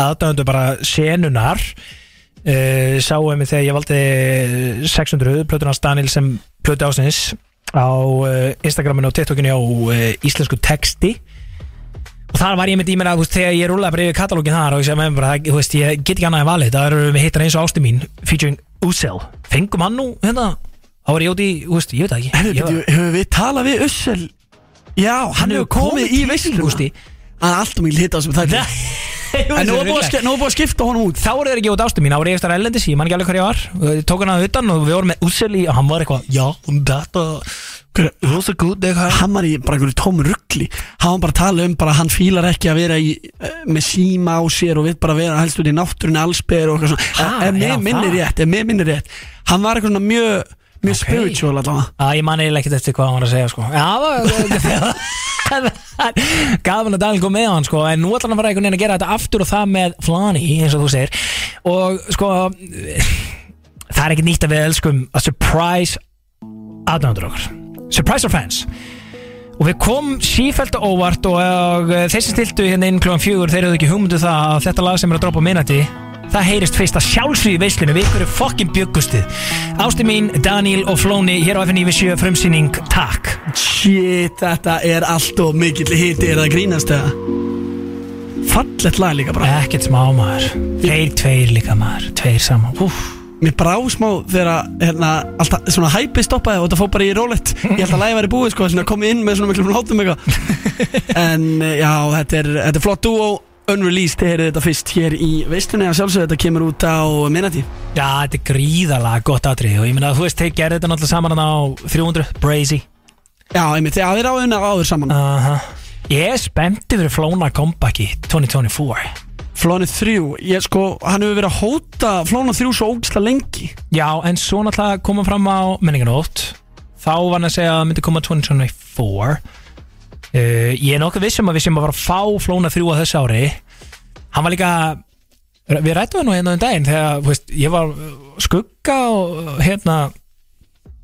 aðdæðundu bara senunar uh, sáum við þegar ég valdi 600 plötunars Daniel sem plötu ásins á uh, Instagraminu og TikTokinu á uh, íslensku texti og þar var ég með dýmina veist, þegar ég rúlaði bara yfir katalógin þar og ég segi með mér bara, það- þú veist, ég get ekki annað en valið það eru við hittar eins og ástu mín featuring Ussel, fengum hann nú hérna þá var ég út í, þú veist, ég veit það ekki Herru, Ég var- byrju, hefur við talað við Ussel? Já, hann, hefur komið, í veisluna Gústi Hann er alltaf mikið hitt á sem þætti En nú er búið að ske- nú er búið að skipta honum út Þá voru þeir ekki út ástu mín, þá voru ég eftir erlendis, ég man ekki alveg hver ég var og ég Tók hann að utan og við vorum með útsel í og hann var eitthvað Já, um þetta, rosa gúd eitthvað Hann var í bara einhverju tómu ruggli Hann var bara að tala um bara að hann fílar ekki að vera í, eh, með síma á sér og við bara vera helst út í náttúrunni allsbyr og eitthvað svona Ha, Ef já, mér minnir það. rétt, ef mér minnir rétt Hann var eitthvað svona mjög, mjög Ok. spiritual allavega Já, ég man eiginlega ekkert eftir hvað hann var að segja sko Já, það var Gaf hann að Daniel kom með hann sko En nú ætlar hann að fara einhvern veginn að gera þetta aftur og það með Flani, eins og þú segir Og sko Það er ekkert nýtt að við elskum að surprise aðdæðandur okkar Surprise our fans Og við komum sífælt á óvart og, og eh, þeir sem stiltu hérna inn klúan fjögur þeir eru ekki hugmyndu um það að þetta lag sem er að droppa á minnati það heyrist fyrst að sjálfsögðu í veislunum við hverju fokkin bjöggustið Ásti mín, Daniel og Flóni hér á FNV7 frumsýning, takk Shit, þetta er allt og mikill hiti Er það að grínast eða? Fallett lag líka bara Ekkert smá maður, þeir tveir líka maður tveir saman, úf Mér brá smá þegar að, hérna, alltaf, svona hæpi stoppaði og þetta fór bara í rólegt Ég held að lagi væri búið sko, svona komið inn með svona miklum látum eitthvað En eh, já, þetta er, þetta er flott duo Unreleased, þið heyrið þetta fyrst hér í veistunni að sjálfsögðu þetta kemur út á eh, minnati Já, þetta er gríðalega gott atrið og ég meina að þú veist, þeir gerði þetta náttúrulega saman þarna á 300, Brazy Já, einmitt, þegar þeir áður unna áður saman uh. Aha. Ég er spennti fyrir Flóna kompaki 2024 Flónið 3, ég sko, hann hefur verið að hóta Flónið 3 svo ógislega lengi Já, en svo náttúrulega koma fram á menninganótt Þá var hann að segja að það myndi koma 2024 uh, Ég er nokkuð vissum að við séum að fara að fá flóna þrjú á þessu ári Hann var líka Við rættum hann nú hérna um daginn Þegar, þú veist, ég var uh, skugga og uh, hérna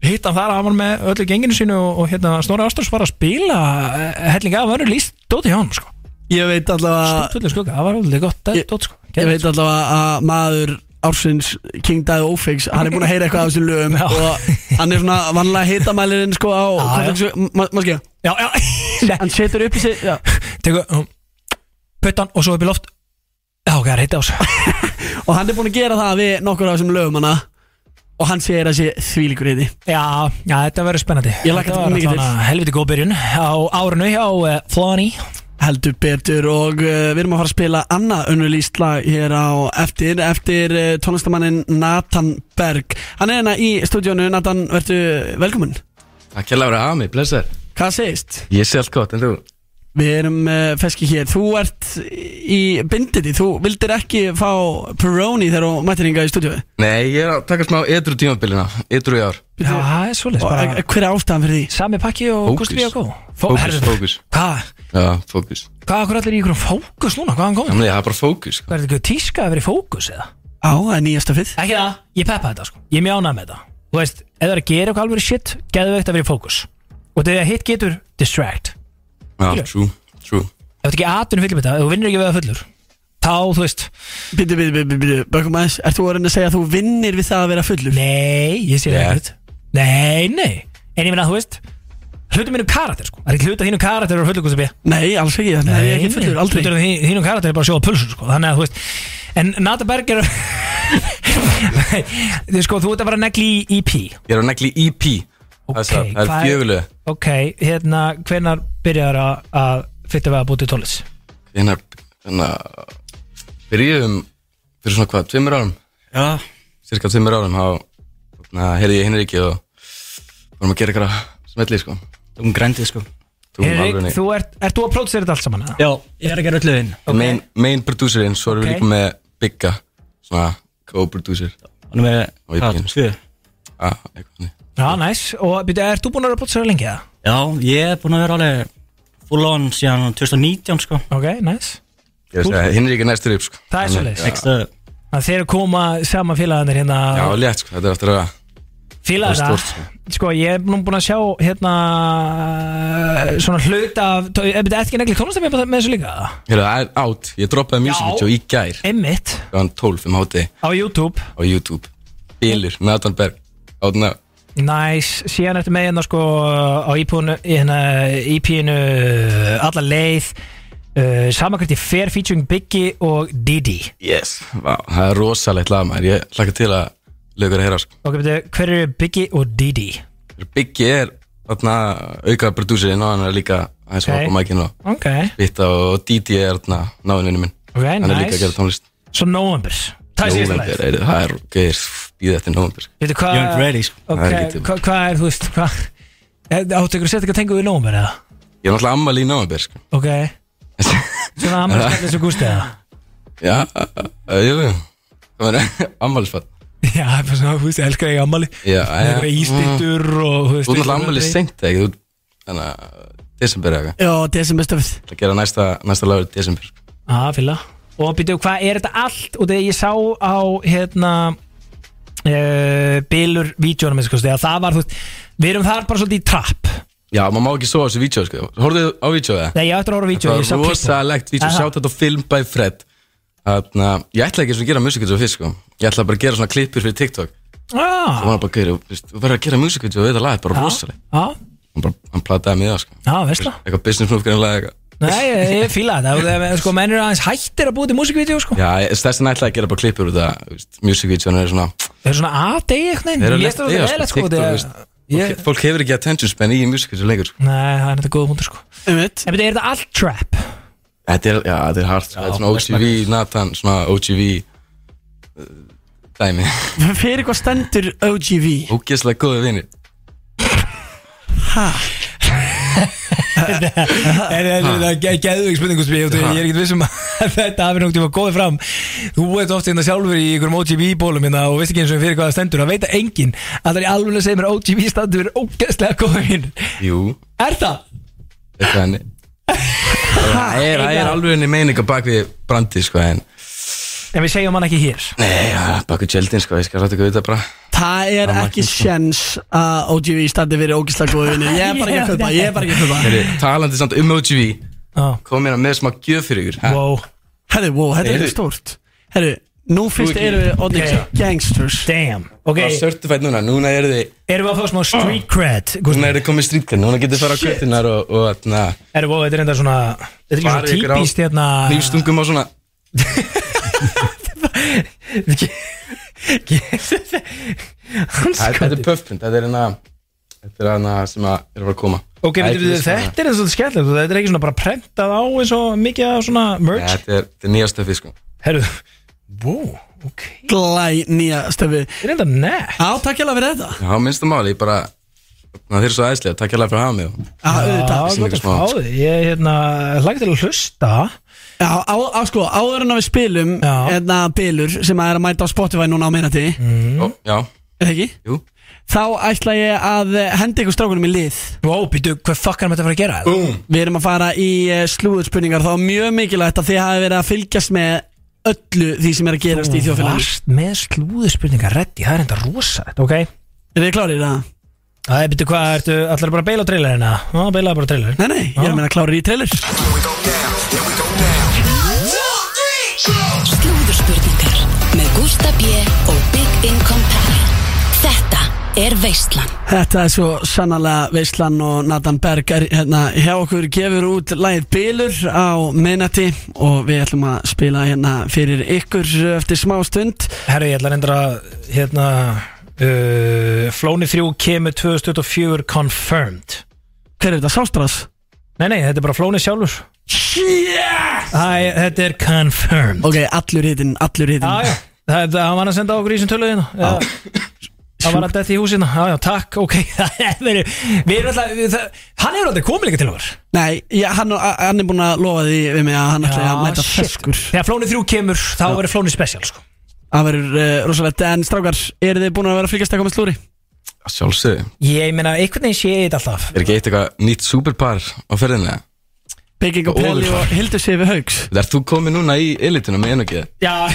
hitt hann þar að hann var með öllu genginu sínu og, og hérna Snorri Ásturs var að spila eh, helling af önnur líst dóti hjá hann sko Ég veit allavega Stundvöldu skugga, það var alveg gott Ah. Ég- dóti sko Ég veit allavega að maður ársins King Dæði Ófix Hann er búin að heyra eitthvað af þessum lögum Og hann er svona vanlega hitamælirinn sko á já. Má skilja Já, já Hann setur upp í sig já. Tekur um, puttan og svo upp í loft Já, ok, það er heiti ás Og hann er búin að gera það við nokkur af þessum lögum hana Og hann segir að sé þvílíkur hitti Já, já, þetta verður spennandi Ég lakka Þetta þetta var mikið til. allavega Helviti góð byrjun á árinu hjá uh, Flóni Heldur betur og uh, við erum að fara að spila annað unnulýst lag hér á eftir Eftir uh, tónlistamannin Nathan Berg Hann er hérna í stúdíónu Nathan, verðu velkomin Takk ég lára að mig, blessaður Hvað segist? Ég sé allt gott, en þú? Við erum uh, feski hér Þú ert í binditi Þú vildir ekki fá Peroni þegar þú mættir hinga í stúdíu Nei, ég er að taka smá edru tímabilina Edru í ár Já, það er svolítið bara eh, Hver er ástæðan fyrir því? eh, Sami pakki og Gusti B.K. Fókus, fókus Hvað, Já, fókus hvað akkur allir í ykkur um fókus núna? Hvaðan Já, komið? menn, ég hafa bara fókus sko. Hvað er þetta ekki tíska að vera í fókus eða? Á, það er nýjasta fyrr Ekki það, ég peppa þetta sko Ég mjánað með þetta Þú veist, ef það er að gera eitthvað alveg shit Geðu veikt að vera í fókus Og þegar hitt getur, distract Já, true, true Ef þetta ekki atvinnum fylgjum þetta, ef þú vinnur ekki við það fullur Þá, þú veist, Bindu, bindu, bindu, bindu Bökum aðeins Ert þú að reyna að segja að þú vinnir við það að vera fullur? nei, ég sé það Yeah. ekkert Nei, nei, en ég minna, þú veist Hlutum minnum karakter sko Það er ekki hluta þínum karakter og fullur hvað sem ég Nei, alls ekki Nei, ég er ekki fullur, aldrei Hlutur þín- þínum karakter er bara að sjóða pulsun sko Þannig að, þú veist En Nata Berg er Þið sko, þú ert að vera negli í EP Ég er að E negli EP Það er það, það hvað er fjögulega Ok, hérna, hvenar byrjar að- að fitta við að búti tónlist? Hérna, hérna Byrjuðum fyrir svona hvað, tveimur árum Já Cirka tveimur árum Þá hérna, heyrði ég Hinriki og Varum að gera eitthvað smetli, sko um grændið sko Þú erum Erik, alveg þú ert, ert þú að prótsera þetta allt saman? eða? Já, ég er að gera öllu þinn okay. main, main producerinn, svo erum Ok. við líka með Bigga Svona co-producer E Hann er með, Og ég hvað, begynn. tvö ah, eitthvað þannig. Já, næs, og byrja, ert þú búin að vera að prótsera lengi það? Já, ég er búin að vera alveg full on síðan 2019 sko Ok, næs Ég veist að Hinrik er næstur upp sko. Það er Þannig- svoleiðis. Já, Ekstra, Að þeir koma saman félagarnir uh, já, hérna létt sko, þetta er eftir að það er Félagarna, sko, ég er nú búin að sjá hérna svona hluta af, tó- er þetta ekki negli tónlist með með þessu líka? Hérna, það er átt, ég droppaði music Já. video í gær Emmitt Góðan 12 um háti á YouTube á YouTube Bílur, Nathan Berg Out now Næs, síðan ertu með hérna sko á ípúinu, hérna, ípínu alla leið uh, samankvæmt í Fair featuring Biggie og Didi Yes Vá, það er rosalegt lag maður Ég hlakka til að lögur að heyra sko Ok, betur, hver eru Biggie og Didi? Biggi er þarna auka producerinn og hann er líka aðeins Ok. okay. á mækinu og Ok, Vita og Didi er þarna náðuninu minn Ok, Hann er líka nice. að gera tónlist svo Novembers Það er síðasta Nóvember, leið er- það er geir Býði eftir november Veitu hvað Young Ready sko Ok, Það er ekki til. hvað hva er, þú veist, hvað er- Áttu ykkur að setja ekki að tengu við November eða? Ég er náttúrulega ammali í november sko Ok, svona ammar skallið svo gústi eða? Já, uh, jú, jú Það var ammælisfatt Já, það er bara svona, þú veist, elskar ég ammali Já, Það er já. Mm. ístittur og Þú ert náttúrulega ammælis seint ekki Þú ert, þannig að desember eða eitthvað. Já, desember stöfð Það gera næsta, næsta lagur desember Já, fylga Og býtu, hvað er þetta allt? Og þegar ég sá á, hérna uh, Bilur vídjónum eins og kosti, að það var, þú veist Við erum þar bara svolítið í trapp Já, maður má ekki svo á þessu vídeo sko Horfðu á vídeo það? Nei, ég ætti að horfa á vídjó Það var rosalegt vídeo Sjátt þetta á Film by Fred Þannig að ég ætla ekki einu sinni að gera musikvídeó fyrst sko Ég ætla bara að gera svona klippur fyrir TikTok Það Já, var bara að gera, þú verður að gera musikvídeó við þetta lag Bara rosalegt já, Hann bara, hann plataði mig það sko Ah. já, veist það Eitthvað business move grann lag eitthvað Nei, ég, ég fíla þetta, þú veist, sko, menn eru aðeins hættir að búið til músikvídeó, sko Já, ég- stærst en ætlaði að gera bara klippur út af Musikvídeónu er svona Það er svona aðdegi eitthvað Þeir Mér eru finnst það lent í það, sko, svolítið eðlilegt sko TikTok, þegar- veist. ég- Fólk- Fólk hefur ekki attention span í musikvídeó lengur sko. Nei, það er þetta góða punktur sko Einmitt En betur, er þetta allt trap? Þetta er, já, þetta er hart Þetta er svona OGV, Nathan, svona OGV uh, dæmi Fyrir hvað stendur OGV? Ógeðslega góði vinir En það er geðvig spurningu sem ég átti- Ég er ekkert viss um að þetta hafi náttúrulega góðið fram Þú veit ofta hérna sjálfur í einhverjum OGB-bólum hérna og veist ekki eins og fyrir hvað það stendur Það veit að enginn að það er í alveg að segja mér að OGB standur fyrir ógeðslega góðið minn Jú, Er það? eitthvað henni Það er, það er alveg henni meininga bak við brandi sko en En við segjum hann ekki hér Nei, já, bak við tjöldin sko, ég skal rátt ekki auðvitað bara Það er ekki sjens að OGV standi fyrir ógislega góðu vinni Ég er bara ekki að köpa, ég er bara ekki að köpa Heri, Talandi samt um OGV Já. kom hérna með smá gjöf fyrir ykkur ha? Wow Herri, wow, þetta er Heyrðu. stórt Herri, Nú fyrst ekki. eru við orðin Ok. gangsters Damn Ok Það er certified núna, núna eru þið Erum við að fá smá street cred Núna eru þið komið streetcar, núna getur þið fara á Shit. kvötinar og, og hérna, atna, Erum við, þetta er enda svona Þetta er líka Farið ykkur á svona típist hérna Ah. Lífstungum og svona Þetta er puffin, þetta er hérna Þetta er hérna sem að er að fara að koma Ok, Æ, veitum við, þetta er þetta er eins og þetta skemmtilegt og Þetta er ekki svona bara prentað á eins og mikið af svona- svona Nei, merch Þetta er, þetta er nýja stöfið sko Herru, wow Glæ nýja stöfi Þetta er enda nett Á, takk hjá fyrir þetta Já, minnsta máli, ég bara Na, Þeir eru svo æðislega, takk hérlega fyrir að hafa mig og- Já, auðvitað. Sem gott ykkur að smá. fá þig Ég hérna, hlagt til að hlusta Já, á, á sko, áður en að við spilum Eðna bilur sem að er að mæta á Spotify núna á minnati Ó, Já, Er það ekki? Jú Þá ætla ég að eh, henda ykkur strákunum í lið Wow, býtu, hvað fuck erum þetta að fara að gera? Boom Við erum að fara í eh, slúðurspurningar Þá er mjög mikilvægt að þið hafi verið að fylgjast með öllu því sem er að gerast í þjóðfélaginu Vast með slúðurspurningar reddi, það er enda rosa þetta, ok? Er þið klárið það? Það er byrju hvað, ertu allar bara að beila á trailerina? Já, beilaði bara á trailerin Nei, nei, ég er að meina klárið í trailer Slúðurspurningar með Gústa B. og Big Income Pally Þetta er Veistlan Þetta er svo sannlega Veislan og Nathan Berg er, hérna, hjá okkur gefur út lægið Bilur á minnati og við ætlum að spila hérna fyrir ykkur eftir smá stund Herru, ég ætla að reyndra að hérna uh, Flóni 3 kemur 2024 confirmed Hver er þetta, Sástras? Nei, nei, þetta er bara Flóni sjálfur Yes! Æ, þetta er confirmed Ok, allur hitinn, allur hitinn Já, já, það, það hann var að senda okkur í sem töluðina Já Það var að detti í húsina, já já, takk, ok Það er verið- Við erum alltaf, við- það- hann hefur aldrei komið líka til okkur Nei, já, hann, hann er búin að lofa því við mig að hann ætla að mæta Ah, shit. feskur Þegar Flóni 3 kemur, þá verður Flóni special sko. Það verður uh, rosalegt, en strákar, eru þið búin að vera að fylgjast eitthvað með slúri? að sjálfsögðu Ég meina, einhvern veginn sé ég þetta alltaf Er ekki eitt eitthvað nýtt superpar á ferðinni? Bygging og Og Pelli Ofurfar. og Hildur Sifi Haugs Er þú komið núna í elituna með einugið? Já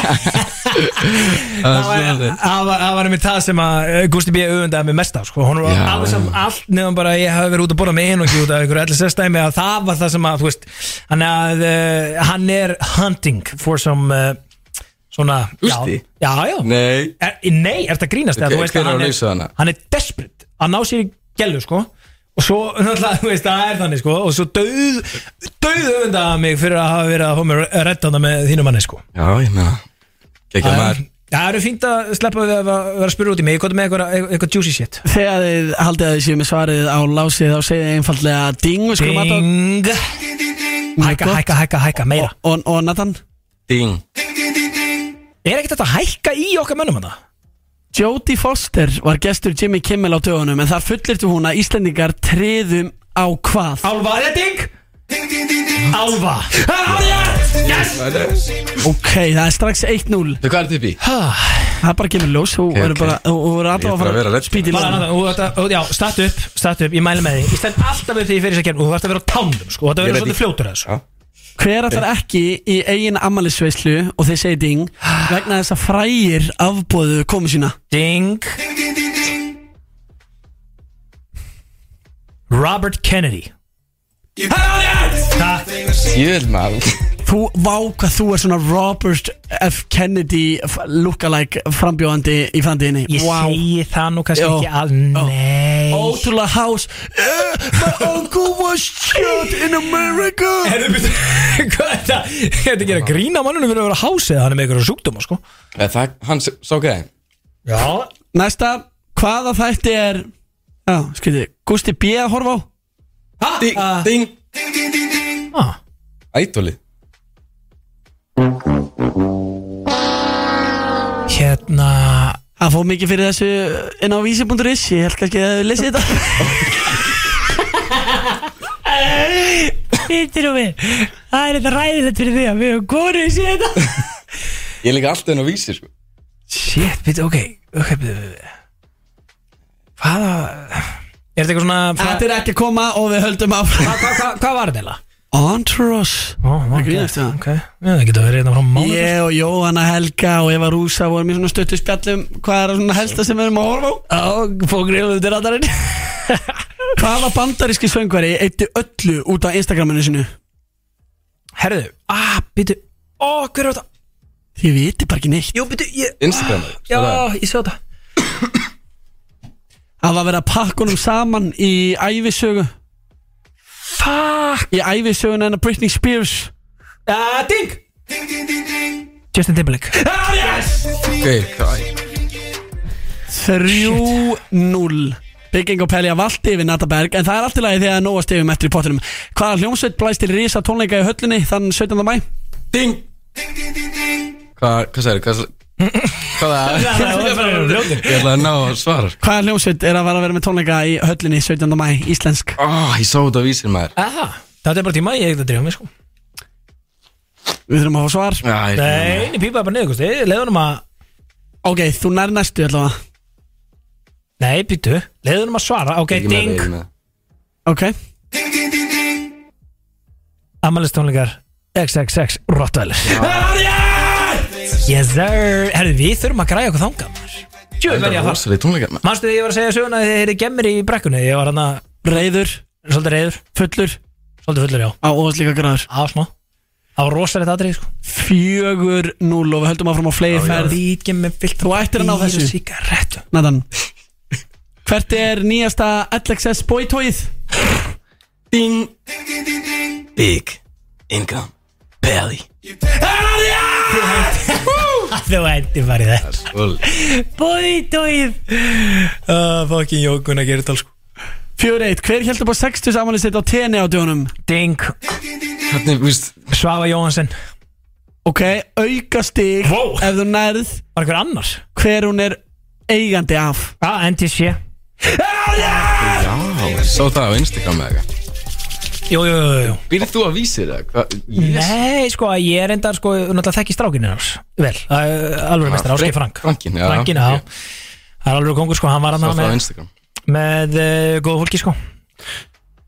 Það var- Það var- það var einmitt það sem að eh, Gústi B. auðvendaði mig mest á sko. Hún var Já, alveg saman já. allt nefnum bara að ég hafi verið út að borða með einu og ekki út af einhverju allir sérstæmi að það var það sem að, þú veist, hann, að, uh, hann er hunting for some uh, svona Gústi? Já, já, já. Nei Er, nei, er þetta grínast eða, Hver- þú veist hver að er hann að er- leysa hana? Hann er desperate að ná sér í gælu sko Og svo, náttúrulega, þú veist, það er þannig sko Og svo döð, döð öfundaði hann mig fyrir að hafa verið að fá mér að redda hana með þínu manni sko Já, ég meina Gekja maður Það eru fínt að sleppa við að vera að spyrja út í mig Ég kom með eitthvað, eitthvað juicy shit Þegar þið haldið að þið séu með svarið á lásið þá segið þið einfaldlega ding við skulum aðtá- Ding Mjög Hækka, gott. hækka, hækka, hækka, meira og, og Nathan Ding Er ekkert þetta að hækka í okkar mönnum þetta? Jodie Foster var gestur Jimmy Kimmel á dögunum en þar fullirtu hún að Íslendingar treðum á hvað Álfa, er þetta ding? Álfa Það er Yes Ok, það er strax 1-0 Þau hvað er þetta upp í? Það er bara kemur ljós Þú Ok, ok. okay, okay. verður Ég þarf að alltaf að vera fara reddin. spýt í Bara annað, ljóðum og þetta, og, já, statu upp, statu upp, ég mæli með því Ég stend alltaf upp því ég fyrir þess að kemna og þú ert að vera á tánum, sko, og þetta Ég verður veit svolítið ekki. fljótur að þessu Hver ætlar ekki í eigin ammælisveislu og þeir segið ding vegna þess að frægir afbóðu komu sína Ding Robert Kennedy Takk Jöl maður Þú, vá hvað þú er svona Robert F. Kennedy f- lookalike frambjóðandi í framtíðinni Ég Vá. segi það nú kannski Já. ekki all Nei Ótrúlega hás Eh, My uncle was shot in America Herðu, byrju, Hvað er það? Þetta er ekki að grína mannunum fyrir að vera hásið Hann er með einhverjum sjúkdóma sko Eh, Það, hann sá hvað er Já Næsta, hvaða þætti er Já, skriði, Gusti B. að horfa á Ding, ding ah. Ædoli Hérna Það fóð mikið fyrir þessu inn á vísi.is Ég held kannski að þið lesið þetta Hittir og við Það er þetta ræðilegt fyrir því að við höfum konið sér þetta Ég er líka alltaf enn á vísi sko Shit, byrju, ok Ok, byrju, byrju Hvaða Er þetta eitthvað svona Þetta er ekki að koma og við höldum af Hvað hva, hva, hva var þetta eiginlega? Entourage Ó, ok, grínast, já. ok Já, það getur verið hérna frá mánu Ég og Jóhanna Helga og Eva Rúsa vorum í svona stöttu spjallum Hvað er svona helsta sem við erum að horfa á? Já, fók gríðum þetta rættarinn Hvaða bandaríski söngvari eitti öllu út á Instagraminu sinu? Herðu, ah, byrju Ó, hver er þetta? Þið viti bara ekki neitt Jú, betur, ég Instagram Já, ég sá það Það var verið að pakka honum saman í ævisögu Fuck Í ævisögun hennar Britney Spears Já, Ah, ding Justin Timberlake ah, yes! Ok, 3-0 Bygging og Pelja valdi yfir Nataberg En það er allt í lagi þegar Nóa stefum eftir í pottinum Hvaða hljómsveit blæst til risa tónleika í höllinni Þann 17. mæ? Ding hvað, hvað sagði, hvað Hvað Ég ætla að ná að svara sko. Hvaða hljómsveit er að vera að vera með tónleika í höllinni 17. mæ, íslensk? oh, Ég sá þetta á vísir maður Aha, þetta er bara tíma, ég er ekki að drífa mig sko Við þurfum að fá svar Æ, Nei, ég pípaði bara niður, kosti, leiðunum að Ok, þú nær næstu allavega Nei, býtu, leiðunum að svara, ok, Ekki með ding veginn með. Ok Amalistónleikar, XXX, Rottweiler Yes sir, herru, við þurfum að græja okkur þanga Jú, Þetta verð ég er að fara rosalega tónleika maður. Manstu þegar ég var að segja söguna að þið eru gemmir í brekkunni Ég var hann að Reyður, svolítið reyður fullur Svolítið fullur, já Á óvast líka græður Á, smá Það var rosalegt aðrið, sko 4-0 og við höldum áfram á flegi ferð Líkið með fyllt Þú ættir að ná Mm. þessu. Sigarettu Nathan Hvert er nýjasta LXS bóitóið? Ding Big Income Belly Þú endi bara í þetta Bói, dóið Fokkin Jókun að gera þetta, sko 4-1 Hver heldur búið 60 samanlið sitt á TN á djónum? Ding Hvernig, víst Svava Jóhansen Ok, auka stig Vó. Ef þú nærð Var einhver annars? hver hún er eigandi af Já, NTC Já, ég sá það á Instagram eða eitthvað Jú, jú, jú, jú Býrð þú að vísir það? Hva? Yes. Nei, sko, ég er endar, sko, náttúrulega þekki strákinu hans Vel, alveg mestar, Áskei Frank Frankin, já Frankin, já Það er alveg kongur sko, hann var hann Sá það á með, Instagram með uh, eh, góða fólki sko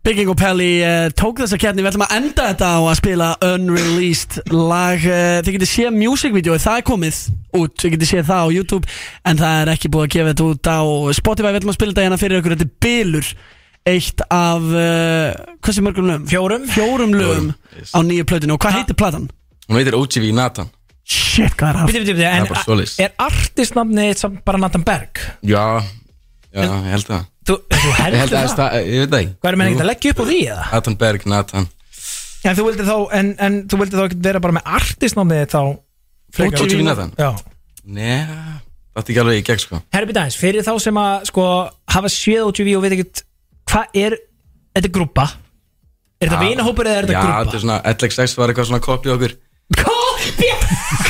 Bygging og Pelli uh, tók þessa keppni Við ætlum að enda þetta á að spila unreleased lag uh, Þið getið séð music-vídeói, það er komið út Þið getið séð það á YouTube En það er ekki búið að gefa þetta út á Spotify Við ætlum að spila þetta hérna fyrir ykkur Þetta er Bilur Eitt af, uh, hversu mörgum lögum? Fjórum Fjórum lögum yes. á nýju plötinu Og hvað heitir platan? Hún veitir OGV Nathan Shit, hvað er það? Biti, biti, biti, en er bara svoleiðis. er artistnafni þitt samt bara Nathan Berg? Já, já, ég held það Þú, þú Ég heldur held að, það? það, eh, ég veit það ekki Hvað er menn ekkert Jú, að leggja upp á því eða? Nathan Berg, Nathan En þú vildi þá, en, en þú vildi þá ekkert vera bara með artistnafni þitt þá frekar- OGV Nathan Já Nei, það er ekki alveg í gegn sko Herbi Dæns, fyrir þá sem að sko hafa séð OGV og veit ekkert hvað er, þetta er grúpa Er þetta Já. vinahópur eða er Já, þetta þetta er svona, LXX var eitthvað svona kopið okkur grúpa? Kópja!